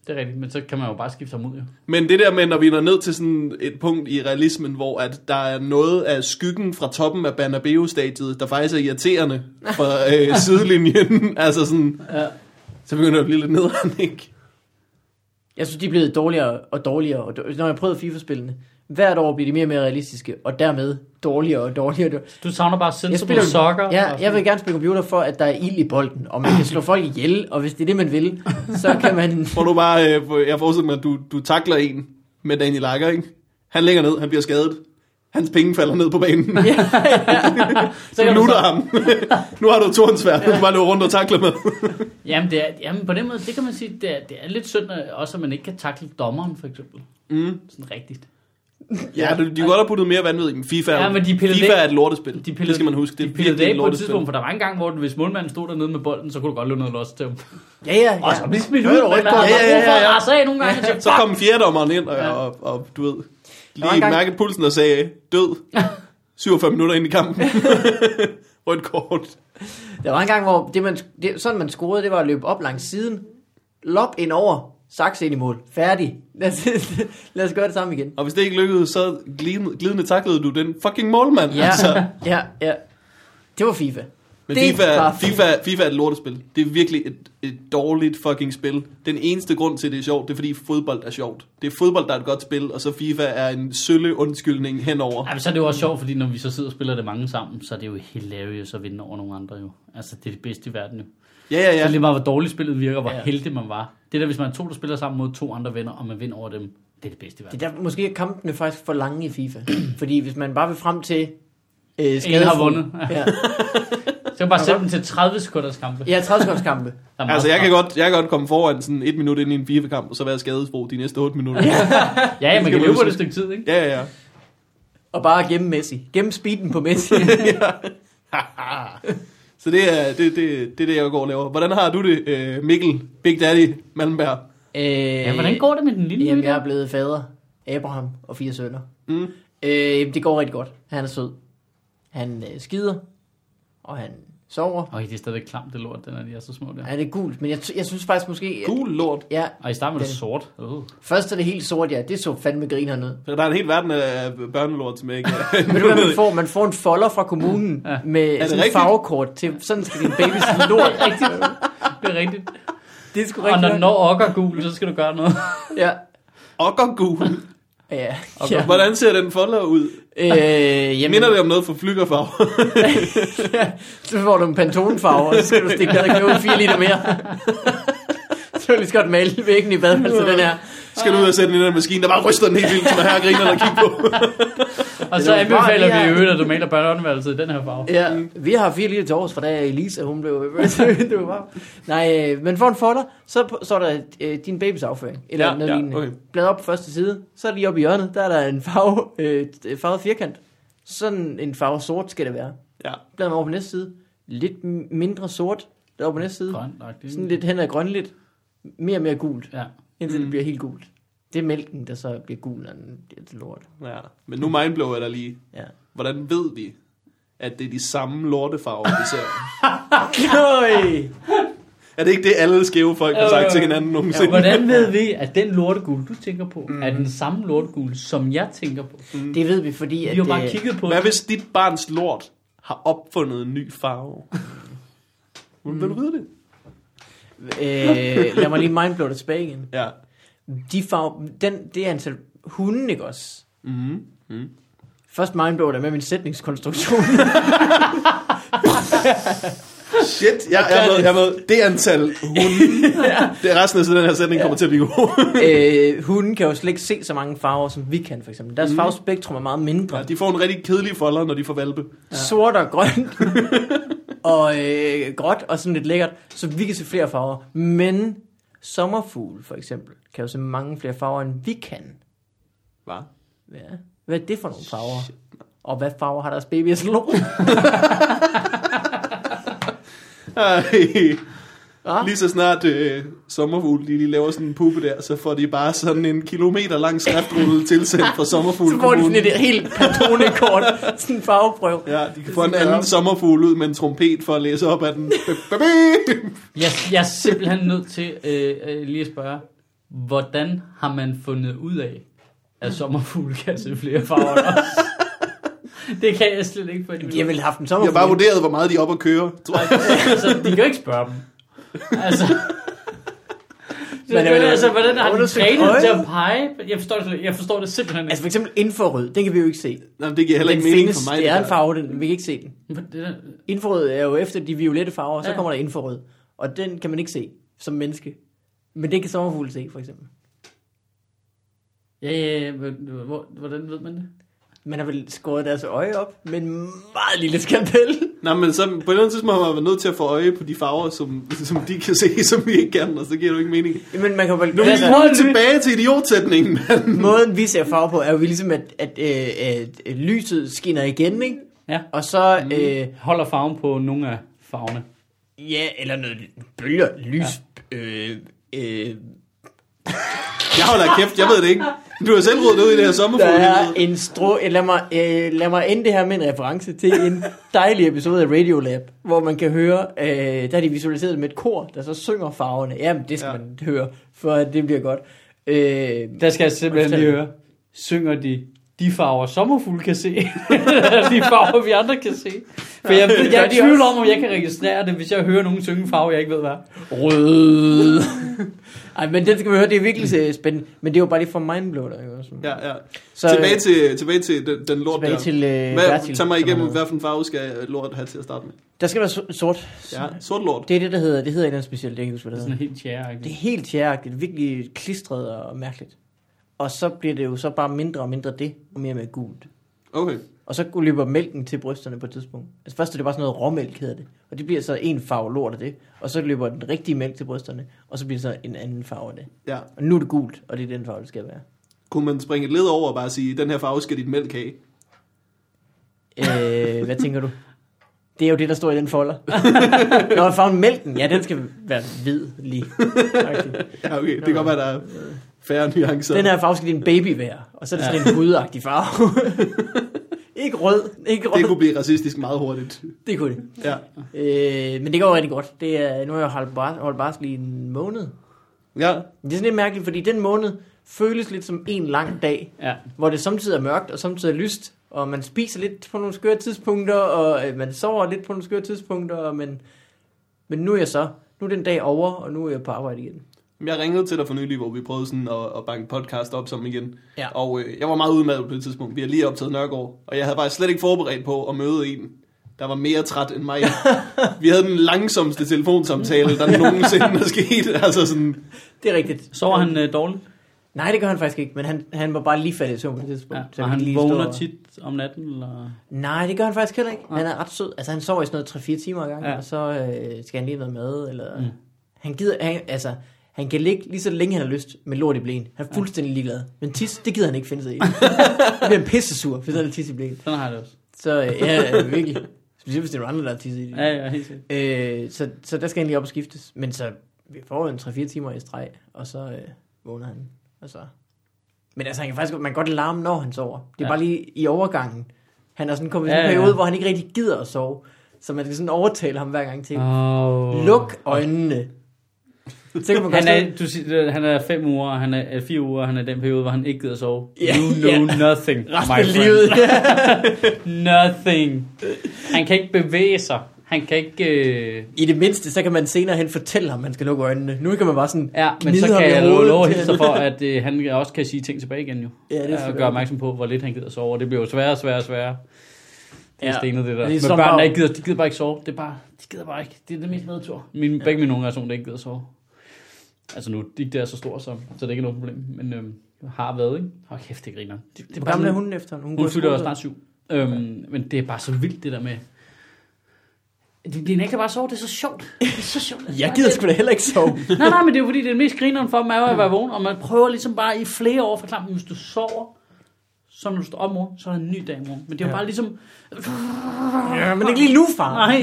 S3: Det er rigtigt, men så kan man jo bare skifte ham ud, jo.
S1: Men det der med, når vi når ned til sådan et punkt i realismen, hvor at der er noget af skyggen fra toppen af Banabeo-stadiet, der faktisk er irriterende fra øh, sidelinjen. altså sådan,
S3: Ja.
S1: Så begynder det at blive lidt nederen, ikke?
S2: Jeg synes, de er blevet dårligere og dårligere. Og dårligere. Når jeg prøvede FIFA-spillene, hvert år bliver de mere og mere realistiske, og dermed dårligere og dårligere. og dårligere.
S3: Du savner bare
S2: Jeg,
S3: sensible
S2: spiller,
S3: sokker.
S2: ja,
S3: og
S2: jeg
S3: sådan-
S2: vil gerne spille computer for, at der er ild i bolden, og man kan slå folk ihjel, og hvis det er det, man vil, så kan man...
S1: Tror du bare, øh, for- jeg forestiller mig, at du, du takler en med Daniel Akker, ikke? Han ligger ned, han bliver skadet. Hans penge falder ned på banen.
S2: ja,
S1: Så
S3: kan
S1: du
S3: du
S1: lutter ham. nu har du et tornsvær, du kan bare løbe rundt og takle med.
S3: Jamen, det er, jamen, på den måde, det kan man sige, det er, det er lidt synd, at- også at man ikke kan takle dommeren, for eksempel.
S1: Mm.
S3: Sådan rigtigt.
S1: Ja, du, de kunne godt have puttet mere vanvid i, men FIFA, ja,
S3: Ja,
S1: men
S3: men de pillede
S1: FIFA
S3: det-
S1: er et lortespil. De
S3: pillede-
S1: det skal man huske. Det er
S3: de pillede
S1: virkelig et
S3: det af på et
S1: lortespil.
S3: tidspunkt, for der var en gang, hvor hvis målmanden stod dernede med bolden, så kunne du godt løbe ned og losse til ham.
S2: ja, ja.
S3: Og så
S2: ja.
S3: blev smidt
S2: Nå,
S3: ud,
S2: det var
S3: men
S2: ikke
S3: man
S2: godt.
S3: har
S1: Ja, ja,
S3: brug for
S1: ja,
S3: at
S1: ja.
S3: rase af nogle gange.
S1: Så kom fjerdommeren ind, og, og, og du ved,
S2: var en
S1: lige
S2: gang-
S1: mærkede pulsen og sagde, død, 47 minutter ind i kampen. Rødt kort.
S2: Der var en gang, hvor det, man, det, sådan man scorede, det var at løbe op langs siden, lop ind over, saks ind i mål, færdig. Lad os, lad os gøre det samme igen.
S1: Og hvis det ikke lykkedes, så glidende, glidende taklede du den fucking målmand.
S2: Ja, ja, ja. Det var FIFA.
S1: Men
S2: Det
S1: FIFA, er-
S2: var
S1: FIFA, er- FIFA er et lortespil. Det er virkelig et, et dårligt fucking spil. Den eneste grund til, at det er sjovt, det er fordi fodbold er sjovt. Det er fodbold, der er et godt spil, og så FIFA er en sølle undskyldning henover.
S3: Jamen, så er det jo også sjovt, fordi når vi så sidder og spiller det mange sammen, så er det jo hilarious at vinde over nogle andre jo. Altså, det er det bedste i verden jo.
S1: Ja, ja,
S3: Ja. Så
S1: ja.
S3: lige meget, hvor dårligt spillet virker, hvor
S2: Ja.
S3: ja. heldig man var. Det der, hvis man er to, der spiller sammen mod to andre venner, og man vinder over dem, det er det bedste i verden.
S2: Det er der, måske er kampene faktisk for lange i FIFA. Fordi hvis man bare vil frem til... Øh,
S3: Ingen har
S2: skadefri-
S3: vundet.
S2: Ja,
S3: Så kan man bare sætte dem til 30 sekunders kampe.
S2: ja 30 kampe.
S3: Der er meget
S1: Altså, jeg kan,
S3: kamp.
S1: godt, jeg kan godt komme foran sådan et minut ind i en FIFA-kamp, og så være skadesbro de næste 8 minutter.
S3: Ja, ja,
S1: Det
S3: man
S1: skal
S3: kan
S1: man
S3: løbe
S1: jo
S3: på det et stykke tid, ikke?
S1: Ja, ja, ja.
S2: Og bare gemme Messi. Gemme speeden på Messi.
S1: Så det er det, det, det, er det jeg går og laver. Hvordan har du det, øh, Mikkel, Big Daddy, Malmberg?
S2: øh,
S3: Ja, hvordan går det med den lille
S2: Jamen,
S3: nye
S2: jeg
S3: der?
S2: er blevet fader. Abraham og fire sønner.
S1: Mm.
S2: Øh, det går rigtig godt. Han er sød. Han øh, skider, og han sover.
S3: Øj, det er stadigvæk klamt, det lort, den er, de er så små der.
S2: Ja, det er gult, men jeg, t- jeg synes faktisk måske...
S1: Gul lort.
S2: Ja,
S3: Og i starten var det
S2: Den-
S3: sort. Uh.
S2: først er det helt sort, ja. Det så fandme grineren ud.
S1: Så der er en hel verden af børnelort, som jeg ikke...
S2: Ved du, hvad man får? Man får en folder fra kommunen ja. med
S1: det
S2: sådan et
S1: rigtigt?
S2: farvekort til, sådan skal din baby se lort.
S3: Rigtigt. Det er rigtigt.
S2: Det er sgu
S3: Og når
S2: rigtigt.
S3: den når okker gul, så skal du gøre noget.
S2: Ja.
S1: Okkergul.
S2: Ja.
S3: Okay.
S2: ja.
S1: Hvordan ser den folder ud?
S2: Øh,
S1: Jeg
S2: jamen,
S1: minder det om noget for flykkerfarver.
S2: så får du en pantonfarve, og så skal du stikke ned og købe 4 liter mere. så vil jeg lige så godt male væggen i badeværelset, den her.
S1: Skal du ud og sætte den i den der maskine, der bare ryster den helt vildt, som er her og griner og kigger på.
S3: Og
S2: Det
S3: så
S2: er jo bare
S3: anbefaler
S2: det
S3: vi
S2: her.
S3: i øvrigt, at du maler børneåndværelset i den her farve.
S2: Ja, vi har fire lille til års, for da Elisa, hun blev... det var bare... Nej, øh, men for en folder, så p- står der øh, din babys afføring, eller
S1: Ja,
S2: ja, noget
S1: ja,
S2: ja, lignende.
S1: okay.
S2: Okay. Blad op på første side, så er lige oppe i hjørnet, der er der en farve, øh, t- farvet firkant. Sådan en farve sort skal det være.
S1: Ja.
S2: Blad mig over på næste side, lidt m- mindre sort, derovre på næste side.
S3: Grøn, nok, det er-
S2: Sådan lidt hen ad grønligt, mere og mere gult,
S3: Ja.
S2: indtil
S1: Mm.
S2: det bliver helt gult. Det er mælken, der så bliver gul, og den bliver til lort.
S1: ja. Men nu mindblower der lige.
S2: Ja.
S1: Hvordan ved vi, at det er de samme lortefarver, vi ser?
S2: Nøj!
S1: er det ikke det, alle skæve folk har sagt
S3: Øh.
S1: til hinanden nogensinde?
S3: Hvordan ved vi, at den lortegul, du tænker på, mm. er den samme lortegul, som jeg tænker på? Mm.
S2: Det ved vi, fordi...
S3: Vi
S2: at
S3: har jo bare
S2: øh,
S3: kigget på
S1: Hvad
S3: det.
S1: hvis dit barns lort har opfundet en ny farve? Hvordan vil du vide det?
S2: Øh, lad mig lige mindblow det tilbage igen.
S1: Ja.
S2: De farve, den, det antal hunde, ikke også?
S1: Mm. Mm.
S2: Først mindblow det med min sætningskonstruktion.
S1: Shit, jeg, jeg, ved, jeg ved, det antal hunde, det er resten af den her sætning kommer til at blive god.
S2: øh, hunden kan jo slet ikke se så mange farver, som vi kan, for eksempel. Deres mm. farvespektrum er meget mindre.
S1: Ja,
S2: Ja,
S1: de får en rigtig kedelig folder, når de får valpe.
S2: Sort og grønt. og øh, gråt og sådan lidt lækkert. Så vi kan se flere farver. Men sommerfugl, for eksempel, kan jo se mange flere farver, end vi kan.
S1: Hvad?
S2: Ja. Hvad er det for nogle farver? Og hvad farver har deres babyers lort?
S1: Ej.
S2: Ah.
S1: Lige så snart øh, sommerfugl lige, lige laver sådan en puppe der, så får de bare sådan en kilometer lang skriftrulle tilsendt fra sommerfugl.
S2: Så får de sådan et helt patronekort, sådan en farveprøve.
S1: Ja, de kan få en anden sommerfugl ud med en trompet for at læse op af den. Ba-ba-bing!
S3: Jeg, jeg er simpelthen nødt til øh, øh, lige at spørge, hvordan har man fundet ud af, at sommerfugle kan se flere farver end os? Det kan jeg slet ikke finde ud
S2: De har
S3: af.
S2: vel haft en
S1: Jeg har bare
S2: sommerfugl.
S1: vurderet, hvor meget de er oppe at køre. Tror jeg.
S3: Altså, de kan jo ikke spørge dem. Altså, Det, men,
S2: er jo-
S3: det, altså, hvordan har de
S2: undersøgt
S3: trænet til
S2: øjet?
S3: at pege? Jeg forstår det, jeg forstår det simpelthen
S2: Altså
S3: ikke.
S2: for eksempel infrarød, den kan vi jo ikke se.
S1: Nej, men det giver heller
S2: Den
S1: ikke mening
S2: findes,
S1: for mig.
S2: det er en
S1: der.
S2: farve, den, vi kan ikke se den.
S3: Det der-
S2: Infrarød er jo efter de violette farver, så
S3: Ja.
S2: kommer der infrarød. Og den kan man ikke se som menneske. Men det kan sommerfugle se, for eksempel.
S3: Ja, ja, ja, men øh, hvor- hvordan ved man det?
S2: Man har vel skåret deres øje op med en meget lille skalpel.
S1: Nej, men så på et eller andet tidspunkt har man været nødt til at få øje på de farver, som, som de kan se, som vi ikke kan, og så giver det jo ikke mening.
S2: Men man kan vel...
S1: Nu er
S3: Altså,
S1: vi
S3: prøv
S1: kommet
S3: at-
S1: tilbage til idiotsætningen, mand.
S2: Måden vi ser farve på, er jo ligesom, at, at, øh, at, at lyset skinner igen, ikke?
S3: Ja.
S2: Og så, øh,
S3: Holder farven på nogle af farverne.
S2: ja, eller noget bølger, lys, ja. øh, øh,
S1: Jeg holder kæft, jeg ved det ikke. Du har selv rodet det ud i det her
S2: der er
S1: sommerfugle.
S2: en strå... eh, Lad mig, øh, lad mig ende det her med en reference til en dejlig episode af Radiolab, hvor man kan høre, øh, der er de visualiseret med et kor, der så synger farverne. Jamen, det skal ja.
S1: Ja.
S2: man høre, for at det bliver godt. Øh,
S3: Der skal jeg simpelthen
S2: Forstår
S3: lige
S2: du?
S3: høre. Synger de de farver, sommerfugle kan se? de farver, vi andre kan se? For jeg, ved, jeg er i
S2: Ja, de
S3: tvivl
S2: også.
S3: om, om jeg kan registrere det, hvis jeg hører nogen synge farver, jeg ikke ved hvad.
S2: rød. Ej, men den skal vi høre, det er virkelig øh, spændende. Men det var bare lige for mindblown. ikke også?
S1: Ja, ja.
S2: Så,
S1: tilbage, til, tilbage til den, den lort
S2: tilbage
S1: der.
S2: til,
S1: Hvad,
S2: øh, Bertil,
S1: tag mig igennem,
S2: som han hedder.
S1: hvad for en farve skal lort have til at starte med?
S2: Der skal være so- sort.
S1: Ja, sort lort.
S2: Det er det, der hedder, det hedder et eller andet specielt, jeg kan ikke huske, hvad det hedder.
S3: Sådan helt tjære.
S2: Det er helt tjæragtigt, virkelig klistret og mærkeligt. Og så bliver det jo så bare mindre og mindre det, og mere og mere gult.
S1: Okay.
S2: Og så løber mælken til brysterne på et tidspunkt. Altså først er det bare sådan noget råmælk, hedder det. Og det bliver så en farve lort af det. Og så løber den rigtige mælk til brysterne, og så bliver det så en anden farve af det.
S1: Ja.
S2: Og nu er det gult, og det er den farve, det skal være.
S1: Kunne man springe et led over og bare sige, den her farve skal dit mælk have?
S2: Øh, hvad tænker du? Det er jo det, der står i den folder. Når jeg farven mælken, ja, den skal være hvid lige. Agtigt.
S1: Ja, okay. Det kan godt være, der er færre nuancer.
S2: Den her farve skal din baby være. Og så er det sådan en hudagtig farve. ikke rød. Ikke rød.
S1: Det kunne blive racistisk meget hurtigt.
S2: det, kunne det.
S1: Ja.
S2: Øh, men det går rigtig godt. Det er, nu har jeg holdt, bar, holdt barsel i en måned.
S1: Ja.
S2: Det er sådan lidt mærkeligt, fordi den måned føles lidt som en lang dag,
S3: Ja.
S2: hvor det samtidig er mørkt og samtidig er lyst, og man spiser lidt på nogle skøre tidspunkter, og øh, man sover lidt på nogle skøre tidspunkter, og men, men nu er jeg så, nu er den dag over, og nu er jeg på arbejde igen.
S1: Jeg ringede til dig for nylig, hvor vi prøvede sådan at, at banke podcast op som igen.
S2: Ja.
S1: Og øh, jeg var meget udmattet på det tidspunkt. Vi har lige optaget Nørgaard, og jeg havde faktisk slet ikke forberedt på at møde en, der var mere træt end mig. vi havde den langsomste telefonsamtale, der nogensinde er sket. Altså sådan,
S2: Det er rigtigt.
S3: Sover han øh, dårligt?
S2: Nej, det gør han faktisk ikke, men han, han var bare lige faldet i søvn på det tidspunkt.
S3: Ja.
S2: så vi
S3: Og han
S2: lige
S3: vågner
S2: står-
S3: tit om natten? Eller?
S2: Nej, det gør han faktisk heller ikke. Han er ret sød. Altså, han sover i sådan noget 3-4 timer ad gangen, ja.
S3: Ja.
S2: og så øh, skal han lige have noget mad, eller... Mm. Han gider... Han, altså, han kan ligge lige så længe, han har lyst med lort i blæen. Han er fuldstændig ligeglad. Men tis, det gider han ikke finde sig i. Han bliver pissesur, hvis der er tis i blæen.
S3: Sådan har jeg det også.
S2: Så øh, ja, øh, virkelig. Specielt hvis det er andre, der har tis i det.
S3: Ja, ja, helt sikkert.
S2: Øh, så, så der skal han lige op og skiftes. Men så vi får en 3-4 timer i streg, og så øh, vågner han. Og så. Men altså, han kan faktisk, godt- man kan godt larme, når han sover. Det er ja.
S3: Ja.
S2: bare lige i overgangen. Han er sådan kommet i
S3: Ja,
S2: sådan en
S3: ja, ja.
S2: periode, hvor han ikke rigtig gider at sove. Så man skal sådan overtale ham hver gang til, oh.
S3: Oh.
S2: luk øjnene. Så kan man godt
S3: Han
S2: sådan-
S3: er, du siger, øh, han er fem uger, og han er er fire uger, og han er i den periode, hvor han ikke gider sove.
S2: Ja,
S3: you know nothing,
S2: resten
S3: my
S2: af
S3: friend.
S2: livet.
S3: Nothing. Han kan ikke bevæge sig. Han kan ikke... Øh...
S2: I det mindste, så kan man senere hen fortælle ham, at han skal lukke øjnene. Nu kan man bare sådan
S3: Ja, men
S2: gnide
S3: så
S2: ham
S3: kan
S2: i
S3: jeg
S2: hovedet
S3: love love
S2: til
S3: hilse
S2: han-
S3: for, at øh, han også kan sige ting tilbage igen jo.
S2: Ja, det er
S3: og
S2: selvfølgelig
S3: gøre opmærksom på, hvor lidt han gider sove. Og det bliver jo sværere og sværere og sværere. Det
S2: Ja.
S3: er ja. stenet, det der.
S2: Og det er
S3: Det
S2: så
S3: men børn,
S2: bare-
S3: der ikke gider, de gider bare ikke sove. Det er bare, de gider bare ikke. Det er det mest nedtur. Min, ja. Begge mine unger er sådan, der ikke gider sove. Altså nu, de ikke er så stor som, så det er ikke noget problem. Men øhm, har været, ikke? Hold kæft, det griner. Det, det
S2: Hvor gammel er
S3: sådan-
S2: hun efter? Hun, går
S3: Hun
S2: i
S3: fylder
S2: skole.
S3: jo snart syv. Øhm, Men det er bare så vildt, det der med... Det bliver ikke bare sove, det er så sjovt. Det er så sjovt.
S2: Jeg gider sgu da heller ikke sove.
S3: Nej, nej, men det er jo fordi, det er mest grineren for mig er jo at være vågen, og man prøver ligesom bare i flere år at forklare, dem, hvis du sover, så når du står op i morgen, så er der en ny dag i morgen. Men det er jo
S2: Ja. Ah.
S3: bare ligesom...
S2: ja, men ikke lige nu, far.
S3: Nej.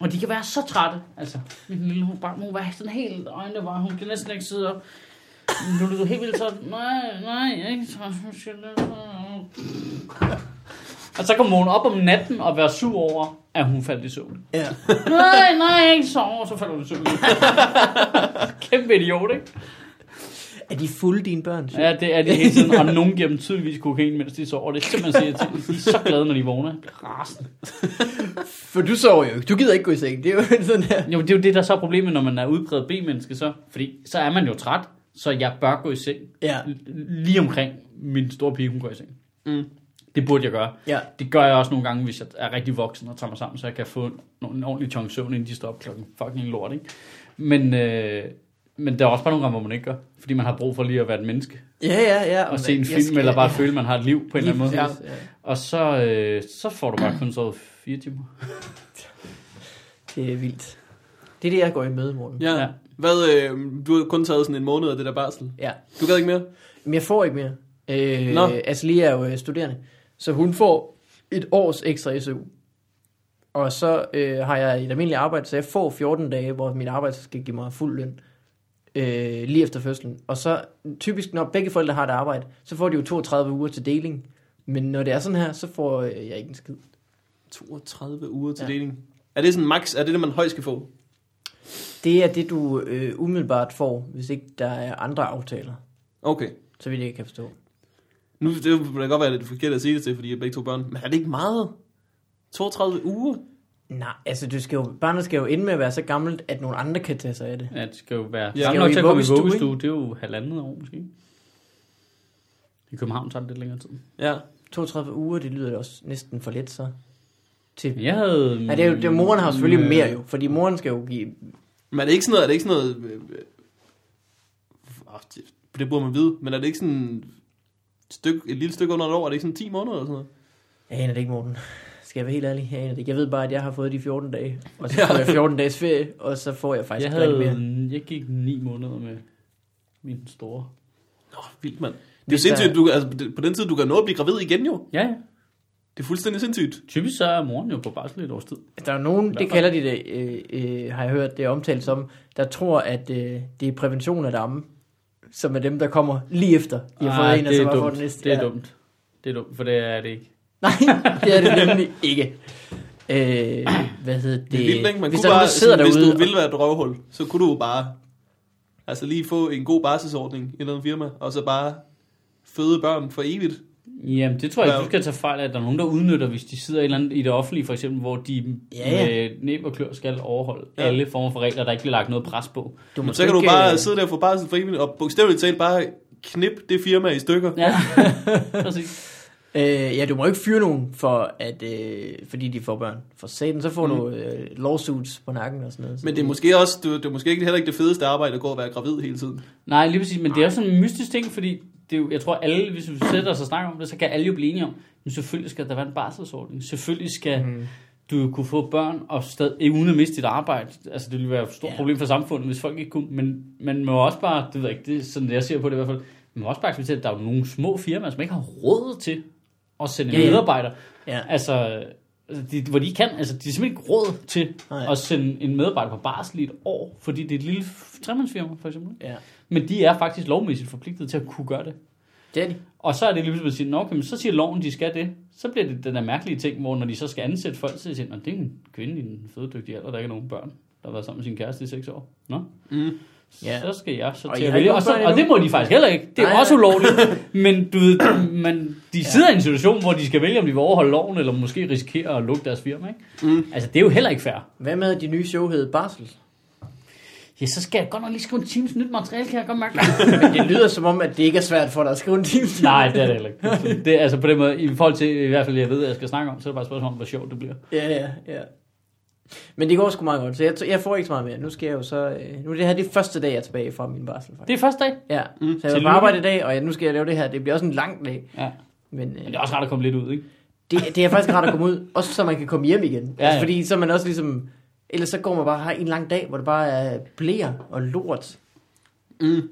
S3: Og de kan være så trætte, altså. Min lille, hun, bare, hun var sådan helt øjnene var, hun kan næsten ikke sidde op. Nu er du helt vildt så, nej, nej, jeg er ikke træt. nu skal jeg- Og så kommer hun op om natten og være sur over, at hun faldt i søvn.
S2: Ja.
S3: Nej, nej, jeg er ikke sover, så falder hun i søvn. Kæmpe idiot, ikke?
S2: Er de fulde, dine børn? Ja.
S3: Ja, det er det hele tiden. Og nogen giver dem tydeligvis kokain, mens de sover. Det er simpelthen så irriterende. De er så glade, når de vågner. Rasende.
S2: For du sover jo ikke. Du gider ikke gå i seng. Det er jo sådan her.
S3: Jo, det er jo det, der så er problemet, når man er udpræget B-menneske så. Fordi så er man jo træt, så jeg bør gå i seng.
S2: Ja.
S3: L- Lige omkring min store pige, hun går i seng.
S1: Mm.
S3: Det burde jeg gøre.
S2: Ja.
S3: Det gør jeg også nogle gange, hvis jeg er rigtig voksen og tager mig sammen, så jeg kan få en, en ordentlig chunk søvn, inden de står op klokken fucking lort, ikke? Men, øh, men der er også bare nogle gange, hvor man ikke gør, fordi man har brug for lige at være et menneske,
S2: Ja, ja, ja.
S3: og se en
S2: Jeg
S3: film,
S2: skal-
S3: eller bare føle, man har et liv på en
S2: Lige
S3: eller anden måde. Ja.
S2: præcis, ja.
S3: Og så, øh, så får du bare kun sovet fire timer.
S2: Det er vildt. Det er det, jeg går i møde i morgen.
S1: Ja.
S3: Ja.
S1: ja. Hvad, øh, du har kun taget sådan en måned af det der barsel.
S2: Ja.
S1: Du gad ikke mere?
S2: Men jeg får ikke mere. Øh,
S1: Nå.
S2: Altså lige er jo øh, studerende. Så hun får et års ekstra SU. Og så øh, har jeg et almindeligt arbejde, så jeg får 14 dage, hvor mit arbejde skal give mig fuld løn. Øh, lige efter fødslen. Og så typisk, når begge forældre har et arbejde, så får de jo 32 uger til deling. Men når det er sådan her, så får øh, jeg ikke en skid.
S1: 32 uger til
S2: Ja.
S1: ja. deling. Er det sådan max? Er det det, man højst skal få?
S2: Det er det, du øh, umiddelbart får, hvis ikke der er andre aftaler,
S1: Okay.
S2: så vidt jeg kan forstå.
S1: Nu det vil da godt være lidt forkert at sige det til, fordi jeg begge to børn. Men er det ikke meget? 32 uger?
S2: Nej, altså du skal jo, barnet skal jo ende med at være så gammelt, at nogle andre kan tage sig af det.
S3: Ja, det skal jo være
S1: Ja.
S3: ja.
S2: Skal jo
S3: nok
S2: i
S3: til at komme i
S2: vuggestue,
S3: vuggestue. Det er jo halvandet år måske. I København tager det lidt længere tid.
S1: Ja.
S2: 32 uger, det lyder da også næsten for let så. Til.
S3: Men Jeg havde...
S2: Ja, det er jo, det er, moren har jo selvfølgelig
S3: øh,
S2: mere jo, fordi moren skal jo give...
S1: Men er det ikke sådan noget... Er det ikke sådan noget øh, øh, åh, det, det burde man vide. Men er det ikke sådan et, stykke, et lille stykke under et år? Er det ikke sådan 10 måneder eller sådan noget?
S2: Jeg aner det ikke, Morten. Skal jeg være helt ærlig? Jeg aner det ikke. Jeg ved bare, at jeg har fået de 14 dage, og så får jeg 14 dages ferie, og så får jeg faktisk
S3: Jeg,
S2: Altså, ikke rigtig mere.
S3: havde, jeg gik ni måneder med min store.
S1: Nå, vildt mand. Det er jo
S2: Hvis der-
S1: sindssygt, du, altså, det- på den tid, du kan nå at blive gravid igen jo.
S3: Ja, ja.
S1: Det er fuldstændig sindssygt.
S3: Typisk så er moren jo på barsel i et års tid.
S2: Der er nogen, det
S3: Hvorfor?
S2: kalder de det, øh, øh, har jeg hørt det er omtalt som, der tror, at øh, det er prævention af damme, som er dem, der kommer lige efter, de har fået en, og
S3: Ah, det
S2: så
S3: er
S2: bare får
S3: dumt.
S2: den næste.
S3: Det er
S2: Ja.
S3: dumt. Det er dumt, for det er det ikke.
S2: Nej, det er det nemlig ikke. Øh, hvad hedder det?
S1: Det er vildt, ikke? Man
S2: hvis
S1: kunne
S2: der er
S1: bare,
S2: nogen, der sidder
S1: sådan, hvis
S2: derude
S1: du ville være et røvhul, så kunne du jo bare altså lige få en god barselsordning i noget firma, og så bare føde børn for evigt.
S3: Jamen, det tror jeg,
S1: Ja.
S3: ikke, du skal tage fejl af, at der er nogen, der udnytter, hvis de sidder et eller andet i det offentlige, for eksempel, hvor de
S2: Ja, ja.
S3: med næb og klør skal overholde
S1: Ja.
S3: ja. alle former for regler, der ikke bliver lagt noget pres på.
S2: Du må
S1: Så kan
S2: ikke,
S1: du bare
S2: øh,
S1: sidde der og få barsel for evigt, og bogstaveligt talt bare knip det firma i stykker.
S3: Ja, præcis.
S2: Øh, ja, du må ikke fyre nogen, for at, øh, fordi de får børn. For satan, så får mm. du øh, lawsuits på nakken og sådan noget. Så
S1: Men det er måske også, du, det er måske ikke heller ikke det fedeste arbejde at gå og være gravid hele tiden.
S3: Nej, lige præcis, men det er også sådan en mystisk ting, fordi det er jo, jeg tror alle, hvis vi sætter os og snakker om det, så kan alle jo blive enige om, men selvfølgelig skal der være en barselsordning. Selvfølgelig skal
S2: Mhm.
S3: mm. du jo kunne få børn og stad, eh, uden at miste dit arbejde. Altså det ville være et stort
S2: Ja.
S3: yeah. problem for samfundet, hvis folk ikke kunne. Men man må også bare, det ved jeg ikke, det er sådan jeg ser på det i hvert fald, man må også bare acceptere, at der er jo nogle små firmaer, som ikke har råd til at sende
S2: Ja,
S3: yeah.
S2: ja.
S3: medarbejdere.
S2: Ja.
S3: Altså, de, hvor de ikke kan, altså de er simpelthen ikke råd til
S2: Nej.
S3: Nej. at sende en medarbejder på barsel i et år, fordi det er et lille f- tremandsfirma for eksempel.
S2: Ja,
S3: Men de er faktisk lovmæssigt forpligtet til at kunne gøre det.
S2: det er de.
S3: Og så er det lige pludselig, at man siger, "Nå, okay, men så siger loven, de skal det. Så bliver det den der mærkelige ting, hvor når de så skal ansætte folk, så siger de, "Nå, det er en kvinde i en fødedygtig alder, der ikke har nogen børn, der har været sammen med sin kæreste i seks år. Nå?
S1: Mm.
S2: Ja.
S3: Ja. Så skal jeg så
S2: Og
S3: til
S2: I
S3: at
S2: har ikke
S3: vælge.
S2: nogen
S3: Og, så,
S2: børn
S3: og
S2: endnu?
S3: det må de faktisk heller ikke. Det er
S2: Nej,
S3: Nej, også
S2: nej.
S3: ulovligt. men du ved, man, de sidder ja. i en situation, hvor de skal vælge, om de vil overholde loven, eller måske risikere at lukke deres firma. Ikke?
S1: Mm.
S3: Altså, det er jo heller ikke fair.
S2: Hvad med at de nye show hed Barsel?
S3: Ja, så skal jeg godt nok lige skrive en times nyt materiale, kan jeg godt mærke.
S2: Men det lyder som om, at det ikke er svært for dig at skrive en time.
S3: Nej, det er det heller ikke. Det er altså på den måde, i forhold til, i hvert fald jeg ved, at jeg skal snakke om, så er det bare et spørgsmål om, hvor sjovt det bliver.
S2: Ja, ja, ja. Men det går sgu meget godt, så jeg, jeg får ikke så meget mere. Nu skal jeg jo så... Øh, nu er det her det første dag, jeg er tilbage fra min barsel, faktisk.
S3: Det er første dag.
S2: Ja, mm, så jeg var på
S3: Tillykke.
S2: arbejde i dag, og jeg, nu skal jeg lave det her. Det bliver også en lang dag,
S3: Ja.
S2: men...
S3: Men
S2: Øh,
S3: det er også rart at komme lidt ud, ikke?
S2: Det, det er faktisk rart at komme ud, også så man kan komme hjem igen. Ja,
S3: Ja,
S2: altså,
S3: ja.
S2: fordi så er man også ligesom... Ellers så går man bare og har en lang dag, hvor det bare er blæer og lort,
S1: Mm.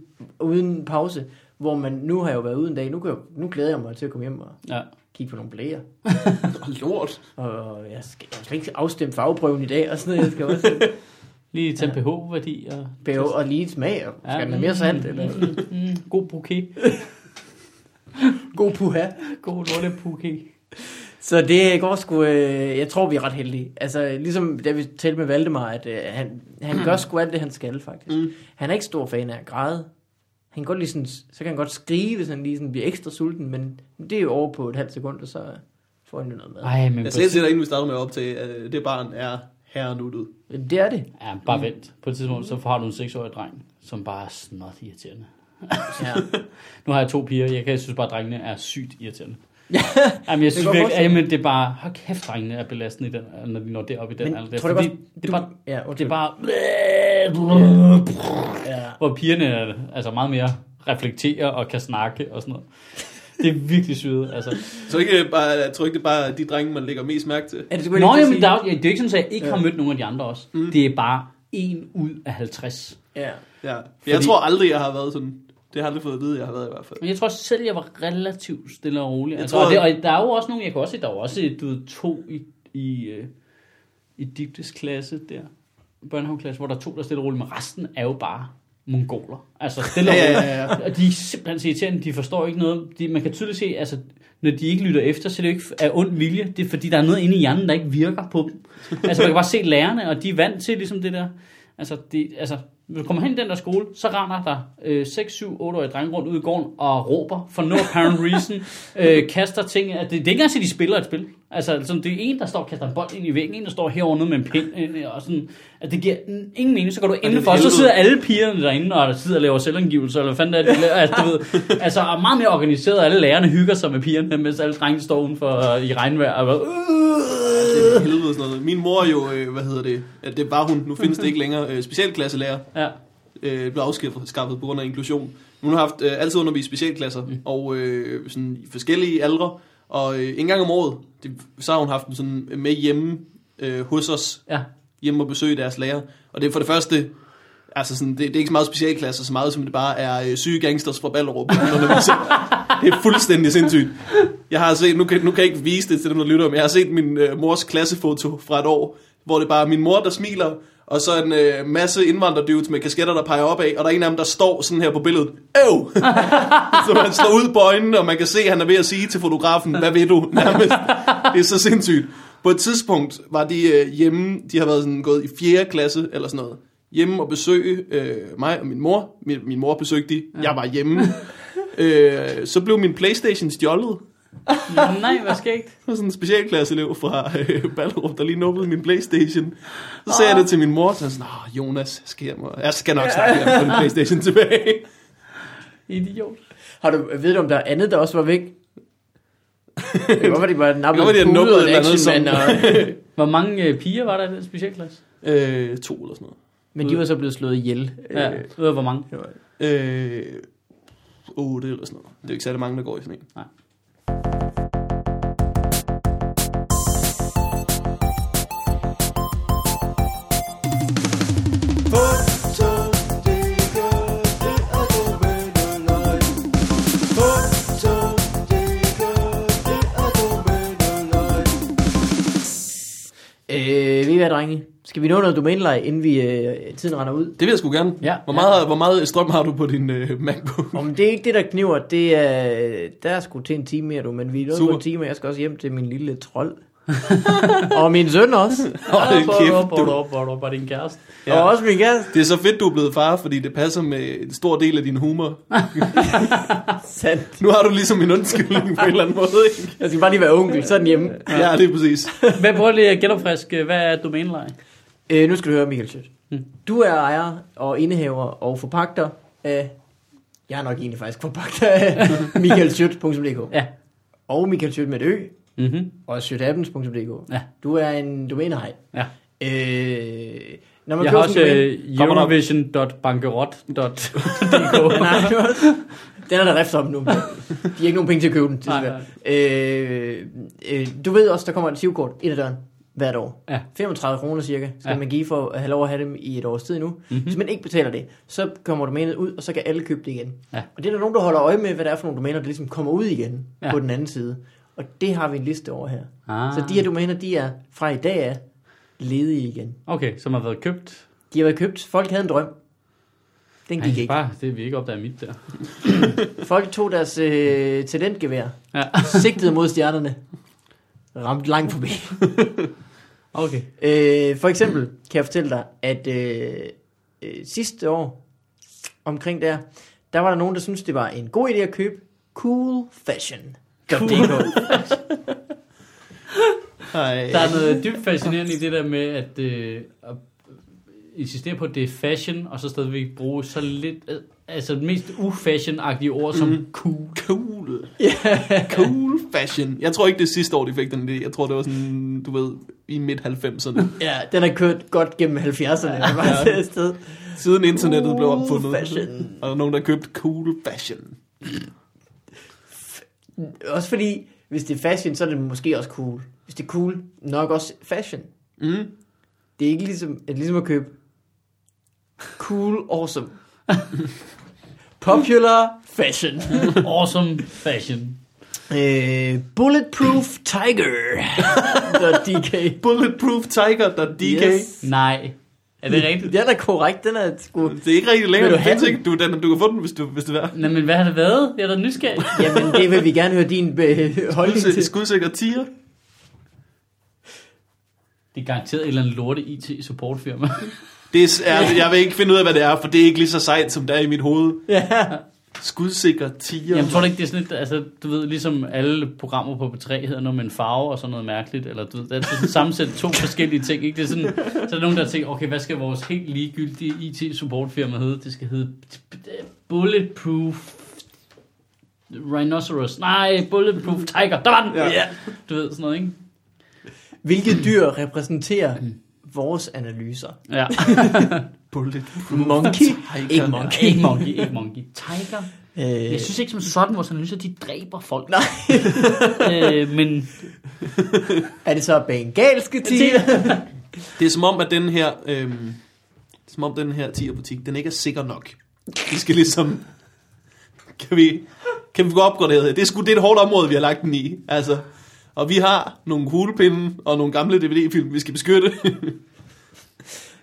S2: uden pause. Hvor man, nu har jeg jo været ude en dag, nu, kan jeg, nu glæder jeg mig til at komme hjem og
S3: Ja.
S2: kigge på nogle blæer.
S1: Og lort.
S2: Og jeg skal, jeg skal ikke afstemme farveprøven i dag, og sådan noget. Jeg skal også
S3: Lige tage en pH-værdi og...
S2: bæve og lige smag, og skal den have mere salt, eller
S3: Mm, god bouquet.
S2: god puha.
S3: God lorte bouquet.
S2: Så det går sgu, øh, jeg tror vi er ret heldige. Altså ligesom da vi talte med Valdemar, at øh, han, han gør sgu alt det han skal faktisk. Mm. Han er ikke stor fan af at græde. han kan godt lige sådan, så kan han godt skrive, hvis han lige sådan bliver ekstra sulten, men det er jo over på et halvt sekund, og så får han jo noget mad.
S3: Ej, men
S1: Jeg
S3: på-
S1: sagde til dig, inden vi startede med at optage, at det barn er herrenuttet.
S2: Men Det er det.
S3: Ja, bare vent. På et tidspunkt, så har du en 6-årig dreng, som bare er snot irriterende.
S2: Ja.
S3: Nu har jeg to piger, jeg, kan, jeg synes bare, at drengene er sygt irriterende. jamen, jeg synes
S2: godt
S3: virkelig,
S2: forestille
S3: jamen, det er bare, hold kæft, drengene er belastende, i den, når de når derop i den
S2: Men
S3: alder. Det er,
S2: tror du
S3: fordi,
S2: ikke også-
S3: det er
S2: du-
S3: bare,
S2: ja,
S3: det er
S2: undskyld.
S3: bare,
S2: ja.
S3: hvor pigerne er, altså meget mere reflekterer og kan snakke og sådan noget. Det er virkelig syret, altså.
S1: Så ikke øh, bare, jeg tror ikke, det er bare de drenge, man lægger mest mærke til.
S2: Er det,
S3: Nå, jamen, der,
S2: der...
S3: er jo- ja, Mm. det er jo ikke sådan, at jeg ikke har mødt nogen af de andre også. Det er bare en ud af 50.
S2: Ja.
S1: Ja. Jeg
S3: Fordi-
S1: tror aldrig, jeg har været sådan. Det har jeg aldrig fået at vide, jeg har været i hvert fald.
S3: Men Altså, jeg tror selv, jeg var relativt stille og rolig. Altså,
S1: tror,
S3: tror, og, det,
S1: at-
S3: og der er jo også nogle, jeg kan også se, der er jo også øh, du ved, to i, i, øh, i Digtes klasse der, børnehaveklasse, hvor der er to, der er stille og roligt, men resten er jo bare mongoler. Altså stille og
S1: Ja,
S3: roligt.
S1: ja, ja,
S3: Og de er simpelthen så irriterende, de forstår ikke noget. De, man kan tydeligt se, altså, når de ikke lytter efter, så er det jo ikke af ond vilje. Det er fordi, der er noget inde i hjernen, der ikke virker på dem. Altså man kan bare se lærerne, og de er vant til ligesom det der. Altså, det, altså når du kommer hen i den der skole, så render der øh, 6, 7, 8-årige drenge rundt ude i gården og råber for no apparent reason, øh, kaster ting. Altså, det, det er ikke engang så, de spiller et spil. Altså, sådan, det er en, der står og kaster en bold ind i væggen, en, der står herovre nede med en pind, øh, og sådan, at det giver n- ingen mening. Så går du indenfor, så
S1: helvede.
S3: sidder alle pigerne derinde, og der sidder og laver selvangivelse, eller hvad fanden det er, de laver, altså, du ved, altså, og meget mere organiseret, og alle lærerne hygger sig med pigerne, mens alle drengene står udenfor øh, i regnvejr, og bare, øh,
S1: Det er helvede sådan noget. Min mor er jo, øh, hvad hedder det, at det var hun, nu findes det ikke længere, øh, specialklasselærer,
S3: ja.
S1: øh, blev afskaffet på grund af inklusion. Hun har haft, øh, altid undervist specialklasser, og øh, sådan i forskellige aldre, og øh, en gang om året, det, så har hun haft dem sådan med hjemme øh, hos os,
S3: Ja,
S1: hjemme og besøge deres lærer. Og det er for det første, altså sådan, det, det er ikke så meget specialklasser, så meget som det bare er øh, syge gangsters fra Ballerup. hun underviser. det er fuldstændig sindssygt. Jeg har set, nu kan, nu kan jeg ikke vise det til dem, der lytter, men jeg har set min øh, mors klassefoto fra et år, hvor det bare er min mor, der smiler, og så en øh, masse indvandrerdudes med kasketter, der peger opad, og der er en af dem, der står sådan her på billedet. Øv! så man slår ud på øjnene, og man kan se, at han er ved at sige til fotografen, hvad ved du? Nærmest. Det er så sindssygt. På et tidspunkt var de øh, hjemme, de har været sådan gået i 4. klasse eller sådan noget, hjemme og besøge øh, mig og min mor. Min, min mor besøgte de, jeg var hjemme. øh, så blev min Playstation stjålet.
S3: Nå, nej, hvad skægt.
S1: Der var sådan en specialklasseelev fra øh, Ballerup, der lige nubbede min Playstation. Så sagde jeg det til min mor, så er jeg sådan, "Åh, Jonas, skal jeg, må- jeg skal nok snakke om min Playstation tilbage.
S3: Idiot.
S2: Har du, ved du, om der er andet, der også var væk? Hvorfor de bare nappede
S1: Hvorfor de har
S2: en
S1: nubbet
S2: pude og en
S1: eller noget
S2: action,
S1: som...
S2: og,
S3: Hvor mange øh, piger var der i den specialklasse?
S1: øh, to eller sådan noget.
S2: men de var så blevet slået ihjel.
S3: Ja,
S2: Øh,
S3: ved du, hvor mange?
S2: det var-
S1: Øh, 8 eller sådan noget. Det er jo ikke særlig mange, der går i sådan en.
S3: Nej.
S2: Øh, ved I hvad, drenge? Skal vi nå noget domæneleje, inden vi øh, tiden render ud?
S1: Det vil jeg sgu gerne.
S3: Ja.
S1: Hvor, meget, hvor meget strøm har du på din øh, MacBook?
S2: Om det er ikke det, der kniver, det er... Der er sgu til en time mere, du, men vi er nået
S1: Super.
S2: på en time, og jeg skal også hjem til min lille trold. og min søn også.
S1: Hold kæft,
S3: Hvor
S1: du.
S3: du hvor du var din kæreste.
S1: Ja.
S2: Ja. Og også min kæreste.
S1: Det er så fedt, du er blevet far, fordi det passer med en stor del af din humor.
S2: Sandt.
S1: Nu har du ligesom en undskyldning på en eller anden måde, ikke?
S2: Jeg skal bare lige være onkel, sådan hjemme.
S1: Ja, det er præcis.
S3: Hvad prøver lige at genopfriske, hvad er domæneleje?
S2: Øh, nu skal du høre, Michael Schødt. Du er ejer og indehaver og forpagter af... Jeg er nok egentlig faktisk forpagter af michaelschødt.dk
S3: Ja.
S2: og Michael Schødt med et ø
S3: Mm-hmm.
S2: og schødtappens.dk.
S3: Ja.
S2: Du er en domænehej.
S3: ja.
S2: Øh, når man
S3: Jeg har
S2: køber
S3: også
S2: sådan en domæne-
S3: øh,
S1: Kommer der-
S3: eurovision.bankerot.dk
S2: Nej, det var- den er der rift om nu. De har ikke nogen penge til at købe den.
S3: Nej,
S2: Nej, øh, øh, du ved også, der kommer et sivkort ind ad døren hvert år.
S3: Ja.
S2: 35 kroner cirka skal
S3: Ja. Mhm.
S2: ja. man give for at have lov at have dem i et års tid nu. Mm-hmm. Hvis man ikke betaler det, så kommer domænet ud, og så kan alle købe det igen.
S3: Ja.
S2: Og det er der nogen, der holder øje med, hvad det er for nogle domæner, der ligesom kommer ud igen
S3: Ja.
S2: ja. på den anden side. Og det har vi en liste over her.
S3: Ah.
S2: Så de her domæner, de er fra i dag af ledige igen.
S3: Okay, som har været købt.
S2: De har været købt. Folk havde en drøm. Den gik ikke.
S3: bare det, vi ikke opdager mit der.
S2: Folk tog deres øh, talentgevær,
S3: Ja.
S2: sigtede mod stjernerne, ramte langt forbi.
S3: Okay.
S2: Øh, for eksempel kan jeg fortælle dig, at øh, øh, sidste år, omkring der, der var der nogen, der syntes, det var en god idé at købe Cool Fashion.
S1: Ej.
S3: Der er noget dybt fascinerende i det der med, at, øh, at insistere på, at det er fashion, og så stadigvæk bruge så lidt, øh, altså det mest ufashion-agtige ord som
S2: Mhm.
S3: mm. cool.
S1: Cool. Cool fashion. Jeg tror ikke, det er sidste år, de fik den idé. Jeg tror, det var sådan, du ved, i midt-90'erne.
S2: Ja, den har kørt godt gennem 70'erne. Ja. Var det sted.
S1: Siden internettet blev
S2: Cool
S1: opfundet.
S2: fashion.
S1: Og der er nogen, der købte cool fashion.
S2: Også fordi, hvis det er fashion, så er det måske også cool. Hvis det er cool, nok også fashion.
S1: Mm.
S2: Det er ikke ligesom, det er ligesom at købe cool awesome. Popular fashion.
S3: Awesome fashion.
S2: Øh, bulletproof tiger. .dk.
S1: Bulletproof Tiger.dk. Yes.
S2: Yes.
S3: Nej. Er det rigtigt?
S2: Den er korrekt, den er sgu...
S1: Det er ikke rigtig længere.
S2: Vil
S1: Du,
S2: du have
S1: den? Du, den, du kan få den, hvis, du, hvis det er.
S3: Nej, men hvad har det været? Jeg er da nysgerrig.
S2: Jamen, det vil vi gerne høre din øh, holdning
S1: Skudsikker,
S2: til.
S1: skudsikker tiger.
S3: Det er garanteret et eller andet lorte IT-supportfirma.
S1: Det er, altså, jeg vil ikke finde ud af, hvad det er, for det er ikke lige så sejt, som det er i mit hoved.
S2: Ja.
S1: Skudsikker tiger.
S3: Jamen, tror du ikke, det er sådan lidt, altså, du ved, ligesom alle programmer på P3 hedder noget med en farve og sådan noget mærkeligt, eller du ved, det er sådan sammensat to forskellige ting, ikke? Det er sådan, så er der nogen, der tænker, okay, hvad skal vores helt ligegyldige IT-supportfirma hedde? Det skal hedde Bulletproof Rhinoceros. Nej, Bulletproof Tiger. Der var den!
S1: Ja.
S3: Ja. Du ved, sådan noget, ikke?
S2: Hvilket dyr repræsenterer vores analyser?
S3: Ja.
S1: Bullet.
S2: Monkey? Ikke monkey.
S3: Ikke monkey, ikke monkey. Tiger.
S2: Øh,
S3: Jeg synes ikke som sådan, vores analyser, de dræber folk. Nej. øh, men
S2: er det så bengalske tiger?
S1: Det er som om, at den her... Øhm, det er som om den her tigerbutik, den ikke er sikker nok. Vi skal ligesom... Kan vi, kan vi få opgraderet her? Det er sgu det er et hårdt område, vi har lagt den i. Altså, og vi har nogle kuglepinde og nogle gamle DVD-film, vi skal beskytte.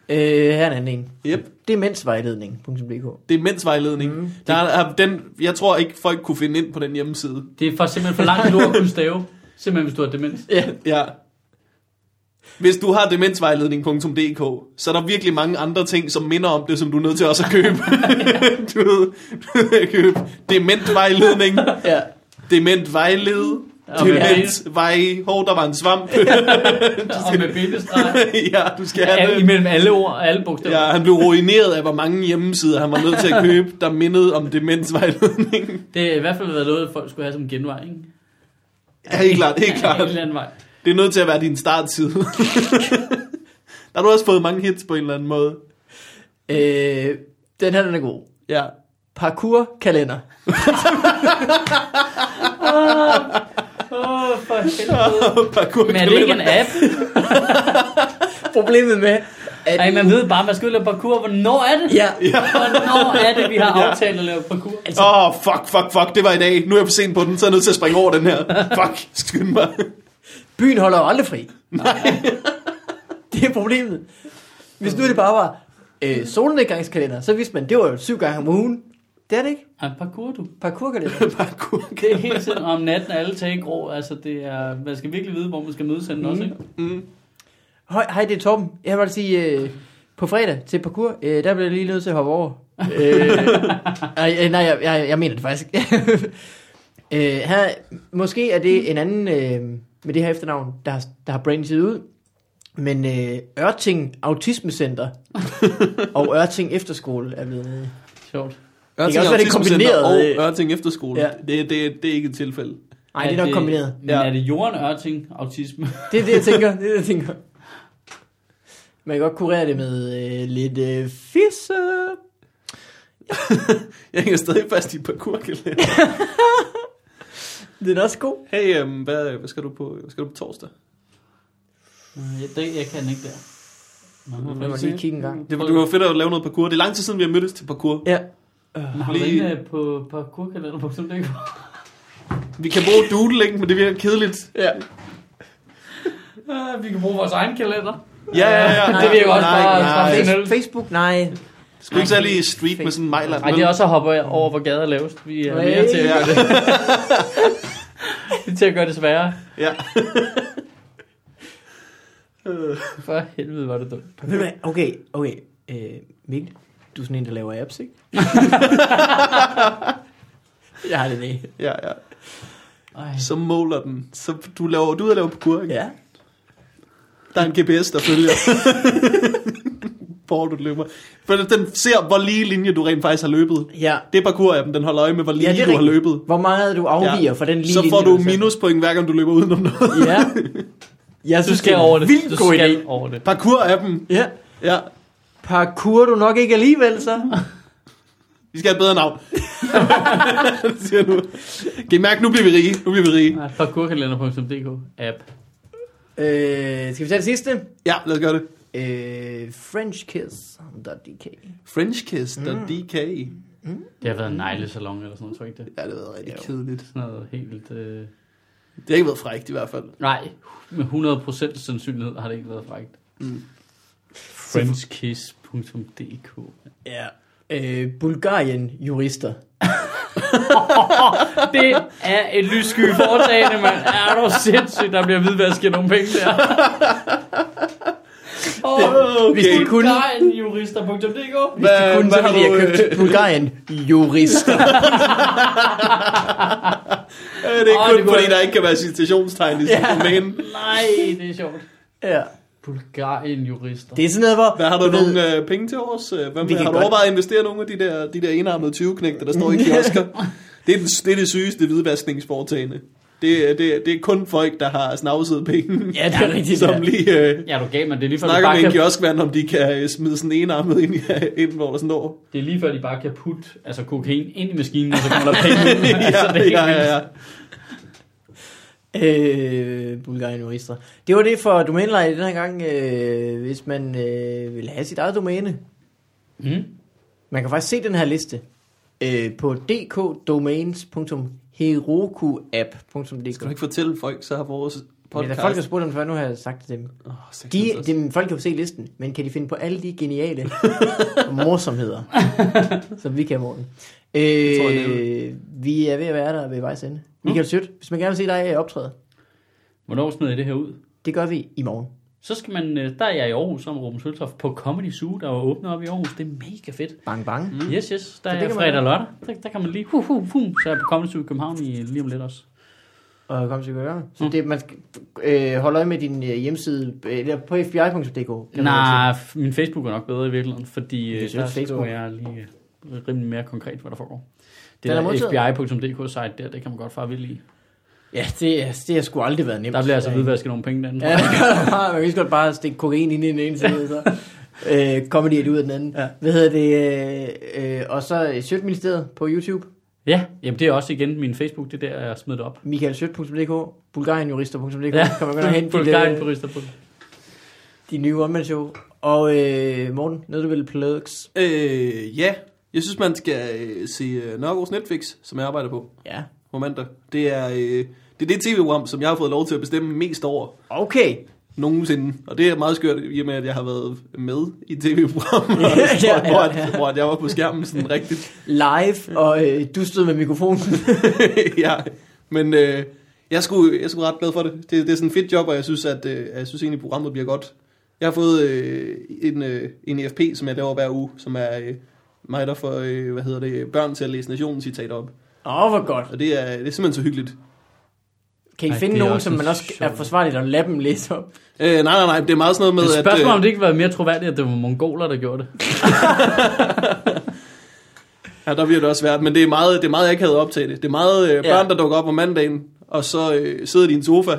S2: Øh, her er en anden en.
S1: yep.
S2: Demensvejledning.dk
S1: Det er mændsvejledning. Mm. Der er, er den, jeg tror ikke, folk kunne finde ind på den hjemmeside.
S3: Det er for, simpelthen for langt et ord at kunne stave. Simpelthen, hvis du har demens.
S1: Ja. Hvis du har demensvejledning.dk, så er der virkelig mange andre ting, som minder om det, som du er nødt til også at købe. du ved, du ved, købe dementvejledning,
S2: Ja.
S1: dementvejled,
S3: Og med
S1: dementvej, hov, der var en svamp.
S3: Og med bindestreg.
S1: ja, du skal have
S3: Al-
S1: det.
S3: imellem alle ord og alle bogstaver.
S1: Ja,
S3: Ja.
S1: han blev ruineret af, hvor mange hjemmesider han var nødt til at købe, der mindede om demensvejledning.
S3: Det er i hvert fald været noget, folk skulle have som genvej, ikke?
S1: Ja, helt klart, helt
S3: Ja, en
S1: klart.
S3: eller anden vej.
S1: Det er nødt til at være din startside. der har du også fået mange hits på en eller anden måde.
S2: Øh, den her, den er god.
S1: Ja.
S2: Parkour kalender.
S3: Åh, oh, for helvede.
S1: Parkour
S3: Men er det ikke en app?
S2: Problemet med, at...
S3: Ej, man ved bare, man skal ud og lave parkour. Hvornår er det?
S2: Ja,
S3: Hvornår er det, vi har aftalt at lave parkour? Altså,
S1: Åh, oh, fuck, fuck, fuck, det var i dag. Nu er jeg for sent på den, så er jeg nødt til at springe over den her. Fuck, skynd mig.
S2: byen holder jo aldrig fri. Det er problemet. Hvis nu det bare var øh, solnedgangskalender, så vidste man, det var jo syv gange om ugen. Det er det ikke.
S3: Ej, parkour, du.
S2: Parkourkalender.
S1: Parkour.
S3: Det er hele tiden om natten, og alle tag i grå. Altså, det er, man skal virkelig vide, hvor man skal mødes henne også, ikke?
S1: Mm.
S2: Hej, hej, det er Torben. Jeg vil bare sige, øh, på fredag til parkour, øh, der bliver jeg lige nødt til at hoppe over. øh, nej, øh, nej jeg, jeg, jeg mener det faktisk. øh, her, måske er det en anden øh, med det her efternavn, der, har- der har brandet ud. Men øh, Ørting Autismecenter og Ørting Efterskole er blevet øh, nede.
S3: Sjovt.
S2: kan også være, det er kombineret.
S1: Og Ørting Efterskole. Ja.
S2: Ja.
S1: Det, det, det er ikke et tilfælde.
S2: Nej, det er nok kombineret.
S3: Men
S1: Ja.
S3: er det Jorden Ørting autisme?
S2: Det er det, jeg tænker. Det er det, jeg tænker. Man kan godt kurere det med øh, lidt øh, fisse.
S1: Jeg hænger stadig fast i parkourkalender.
S2: Det er da også god.
S1: Hey, um, hvad, hvad, skal du på, hvad skal du på torsdag?
S3: Jeg, det, jeg kan ikke der. Man må
S2: Lad mig lige kigge en gang.
S1: Det, det var fedt at lave noget parkour. Det er lang tid siden, vi har mødtes til parkour.
S2: Ja,
S3: Har du
S1: Lige-
S3: ikke øh, på parkourkalender.dk?
S1: Vi kan bruge doodle, ikke? men det virker kedeligt.
S2: ja.
S3: Vi kan bruge vores egen kalender.
S1: Ja, ja, ja.
S3: Det virker også
S1: nej,
S3: bare
S1: nej.
S3: traditionelt.
S2: Face- Facebook, nej.
S1: Det skulle ikke særlig street med sådan en mejler.
S3: Nej, det er også at hoppe over, hvor gader laves. Vi er mere til at gøre det, vi er til at gøre det sværere.
S1: Ja.
S3: For helvede var det dumt.
S2: Ved du hvad? Okay, okay. Øh, Mikkel, Du er sådan en, der laver apps, ikke? jeg har det ikke.
S1: Ja, ja.
S3: Ej.
S1: Så måler den. Så du, laver, du er ude og laver parkour, ikke?
S2: Ja.
S1: Der er en GPS, der følger. Hvor du løber. For den ser, hvor lige linje du rent faktisk har løbet.
S2: Ja.
S1: Det er parkour af dem, den holder øje med, hvor lige
S2: ja,
S1: ja,
S2: det er
S1: du har
S2: rigtigt.
S1: løbet.
S2: Hvor meget du afviger ja. fra den lige
S1: så får
S2: linje, altså.
S1: du
S2: har sat.
S1: minuspoint, hver gang du løber udenom noget.
S2: Ja. Jeg
S3: Du
S2: synes,
S3: skal
S2: det er
S3: over
S2: en
S3: det.
S2: Vildt
S3: Du
S2: god idé.
S3: skal over det.
S1: Parkour af dem.
S2: Ja.
S1: Ja.
S2: Parkour du nok ikke alligevel, så.
S1: Vi skal have et bedre navn. siger du. Kan I mærke, nu bliver vi rige. Nu bliver vi rige.
S3: Ja, Parkourkalender.dk app.
S2: øh, skal vi tage det sidste?
S1: Ja, lad os gøre det.
S2: Øh, Frenchkiss.dk
S1: Frenchkiss.dk
S3: Det har været en neglesalon eller sådan noget, tror jeg ikke det?
S1: Ja, det har været rigtig kedeligt.
S3: Sådan noget helt... Øh...
S1: Det har ikke været frækt i hvert fald.
S3: Nej, med 100% sandsynlighed har det ikke været frækt.
S1: Mm.
S3: Frenchkiss.dk
S2: Ja. Øh, Bulgarien jurister.
S3: Det er et lyssky foretagende, mand. Er du sindssygt, der bliver hvidvasket nogle penge der. Åh,
S1: Okay.
S2: Hvis de kunne,
S3: Bulgarienjurister.dk
S2: hvis de
S1: Hvad-
S2: kunne så
S1: hvad har
S2: ville de have
S1: du, øh,
S2: købt Bulgarien jurister.
S1: Ja, det er
S3: Åh,
S1: oh, kun
S3: det
S1: det
S3: kunne
S1: fordi,
S3: jeg-
S1: der ikke kan være citationstegn i sådan
S2: Ja.
S1: yeah. domæne.
S3: Nej, det er sjovt.
S2: ja.
S3: Bulgarienjurister.
S2: Det er sådan noget, hvor...
S1: Hvad har du
S2: ved-
S1: nogle øh, penge til os? Hvad
S2: Vi
S1: med,
S2: kan
S1: har du
S2: godt-
S1: overvejet at investere nogle af de der, de der enarmede 20-knægter, der står i kiosker? det, er den, det er det sygeste hvidvaskningsfortagende. Det, er- det, er- det er kun folk, der har snavset penge,
S2: Ja, det er rigtigt.
S1: som
S2: ja.
S1: lige øh,
S3: Ja, du gav mig. Det er lige før, de
S1: snakker
S3: bare
S1: med en
S3: kan,
S1: kioskvand, om de kan øh, smide sådan en enarmet ind, i- ind, hvor der står.
S3: det er lige før, de bare kan putte altså kokain ind i maskinen, og så kommer der penge ud. altså,
S1: Ja,
S3: det er helt
S1: ja, ja, ja.
S3: vildt.
S2: Øh, Bulgarien jurister. Det var det for domæneleje den her gang, øh, hvis man øh, vil have sit eget domæne.
S3: Mm.
S2: Man kan faktisk se den her liste øh, på dkdomains.herokuapp.dk.
S1: Skal du ikke fortælle folk, så har vores
S2: Men der
S1: podcast...
S2: er folk, der spurgte dem før, nu har jeg sagt det til dem.
S1: Åh, sex
S2: De,
S1: og-
S2: dem folk kan jo se listen, men kan de finde på alle de geniale morsomheder, som vi kan, Morten?
S1: tror jeg,
S2: Øh, vi er ved at være der ved vejs ende.
S3: Mm.
S2: Michael Sødt, hvis man gerne vil se dig optræde,
S3: Hvornår smed jeg det her ud?
S2: det gør vi i morgen.
S3: Så skal man, øh, der er jeg i Aarhus sammen med Ruben Søltoft på Comedy Zoo, der var åbnet op i Aarhus. Det er mega fedt.
S2: Bang, bang.
S3: Mm. Yes, yes. Der
S2: Så
S3: er
S2: det
S3: jeg
S2: kan man
S3: fredag
S2: gøre.
S3: og lørdag. Der, der kan man lige... Hu, hu, hu. Så er jeg på Comedy Zoo i København i, lige om lidt også.
S2: og kom til at gøre. Så
S3: Mm.
S2: det, man skal øh, holde øje med din øh, hjemmeside, øh, eller på fbi.dk. kan man jo
S3: Nej, f- min Facebook er nok bedre i virkeligheden, fordi
S2: Det er
S3: øh,
S2: selvfølgelig
S3: der skriver
S2: Facebook.
S3: jeg lige øh, rimelig mere konkret, hvad der foregår. Det
S2: Den er
S3: der
S2: modtaget.
S3: fbi.dk-site der, det kan man godt fare vild i.
S2: se. Ja, det, er- det har sgu aldrig været nemt. Øh,
S3: Der bliver altså
S2: Ja.
S3: hvidvasket nogle penge derinde.
S2: Ja, det gør der bare. Man kan lige så godt bare stikke kokain ind i den ene side, så øh, kommer de ud af den anden. Ja. Hvad hedder det? Øh, øh, og så øh, Sjøtministeriet på YouTube,
S3: Ja, jamen det er også igen min Facebook, det er der, jeg smed det op.
S2: michaelsjøt.dk, bulgarienjurister.dk,
S3: Ja,
S2: kan man gå hen til
S3: Bulgarien på
S2: de,
S3: Risterpå.
S2: de nye one show. Og øh, Morten, noget du vil plugs?
S1: Øh, ja. Jeg synes, man skal øh, se øh, Nørgaards Netflix, som jeg arbejder på
S2: Ja.
S1: på mandag. Det er, øh, det, er det tv-program, som jeg har fået lov til at bestemme mest over
S2: Okay.
S1: nogensinde. Og det er meget skørt, i og med, at jeg har været med i tv-programmer,
S2: Ja, ja, ja.
S1: hvor, at, hvor at jeg var på skærmen sådan rigtigt.
S2: Live, og øh, du stod med mikrofonen.
S1: ja, men øh, jeg, skulle, jeg skulle ret glad for det. det. Det er sådan et fedt job, og jeg synes, at, øh, jeg synes egentlig, programmet bliver godt. Jeg har fået øh, en, øh, en EFP, som jeg laver hver uge, som er øh, mig, der får øh, hvad hedder det, børn til at læse nationen citater op.
S2: Åh, oh, hvor godt.
S1: Og det er, det er simpelthen så hyggeligt.
S2: Kan I
S3: Ej,
S2: finde
S3: det er
S2: nogen,
S3: også
S2: som man også
S3: sjovt.
S2: er forsvarligt at lade dem læse op?
S1: Øh, nej, nej, nej, det er meget sådan noget
S3: Men
S1: med, at...
S3: spørgsmålet
S1: øh,
S3: om det ikke var mere troværdigt, at det var mongoler, der gjorde det.
S1: Ja, der bliver det også svært, men det er meget, det er meget jeg ikke havde optaget det. Det er meget øh, børn,
S2: Ja.
S1: der dukker op om mandagen, og så øh, sidder de i en sofa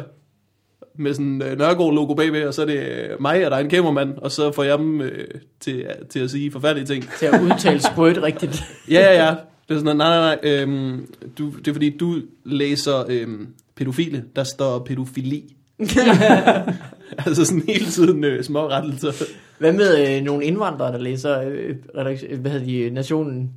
S1: med sådan en øh, Nørregård-logo bagved, og så er det øh, mig, og der er en kameramand, og så får jeg dem øh, til, til at sige forfærdelige ting.
S2: Til at udtale sprødt rigtigt.
S1: Ja, ja, ja. Det er sådan, nej, nej, nej, øhm, du, det er fordi, du læser øhm, pædofile, der står pædofili. altså sådan hele tiden øh, små rettelser.
S2: Hvad med øh, nogle indvandrere, der læser øh, redaktion, øh, hvad hedder de, øh, Nationen?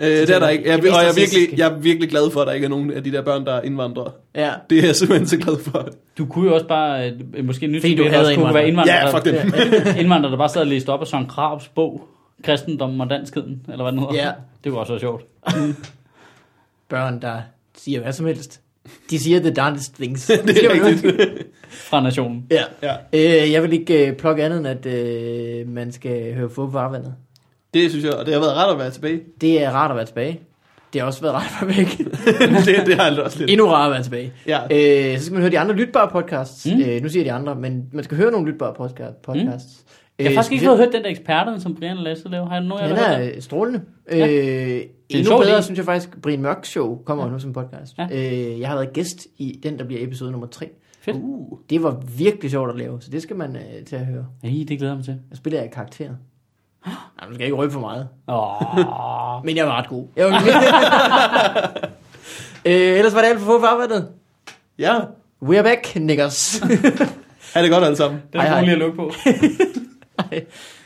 S1: Øh, det er der ikke. Jeg,
S2: Altså, Det er mest
S1: og jeg er,
S2: racistiske.
S1: virkelig, jeg er virkelig glad for, at der ikke er nogen af de der børn, der er indvandrere.
S2: Ja.
S1: Det er jeg simpelthen så glad for.
S3: Du kunne jo også bare, øh, måske nyt
S2: Fordi
S3: til
S2: du
S3: det,
S2: hader
S3: også kunne
S2: indvandrere.
S3: være indvandrer,
S1: Ja, fuck altså, det.
S3: der, indvandrer, der bare sad og læste op af Søren Krabs bog, Kristendommen og Danskheden, eller hvad den hedder.
S2: Ja.
S3: Det kunne også være sjovt.
S2: Børn, der siger hvad som helst. De siger the darndest things. det
S1: Det er rigtigt.
S3: Fra nationen.
S2: Ja.
S1: Ja.
S2: Øh, jeg vil ikke øh, plukke andet end, at øh, man skal høre få på farvandet.
S1: Det synes jeg, og det har været rart at være tilbage.
S2: Det er rart at være tilbage. Det har også været rart at være væk.
S1: det, det har jeg også lidt.
S2: Endnu rarere at være tilbage.
S1: Ja.
S2: Øh, så skal man høre de andre lytbare podcasts.
S3: Mm.
S2: Mm. Øh, nu siger jeg de andre, men man skal høre nogle lytbare podca- podcasts. Mm.
S3: Jeg har faktisk ikke fået hørt den der eksperterne, som Brian og Lasse laver. Har jeg nogen af jer,
S2: Han
S3: der hørt den?
S2: er øh, strålende. Ja. Øh, endnu
S3: sjov
S2: bedre,
S3: idé.
S2: synes jeg faktisk, Brian Mørk Show kommer ja. nu som podcast.
S3: Ja.
S2: Ja. Øh, jeg har været gæst i den, der bliver episode nummer 3.
S3: Fedt.
S2: Uh. Det var virkelig sjovt at lave, så det skal man øh, til at høre.
S3: Ej, det glæder jeg mig til.
S2: Jeg spiller jeg karakterer. Nej, nu skal jeg ikke røbe for meget.
S3: Åh,
S2: Men jeg var ret god. Jeg var øh, ellers var det alt for få for arbejdet.
S1: Ja,
S2: We're back, niggas.
S1: ha' det godt alle sammen.
S3: den er
S2: Hej, hej.
S3: god lige at lukke på.
S2: Hej.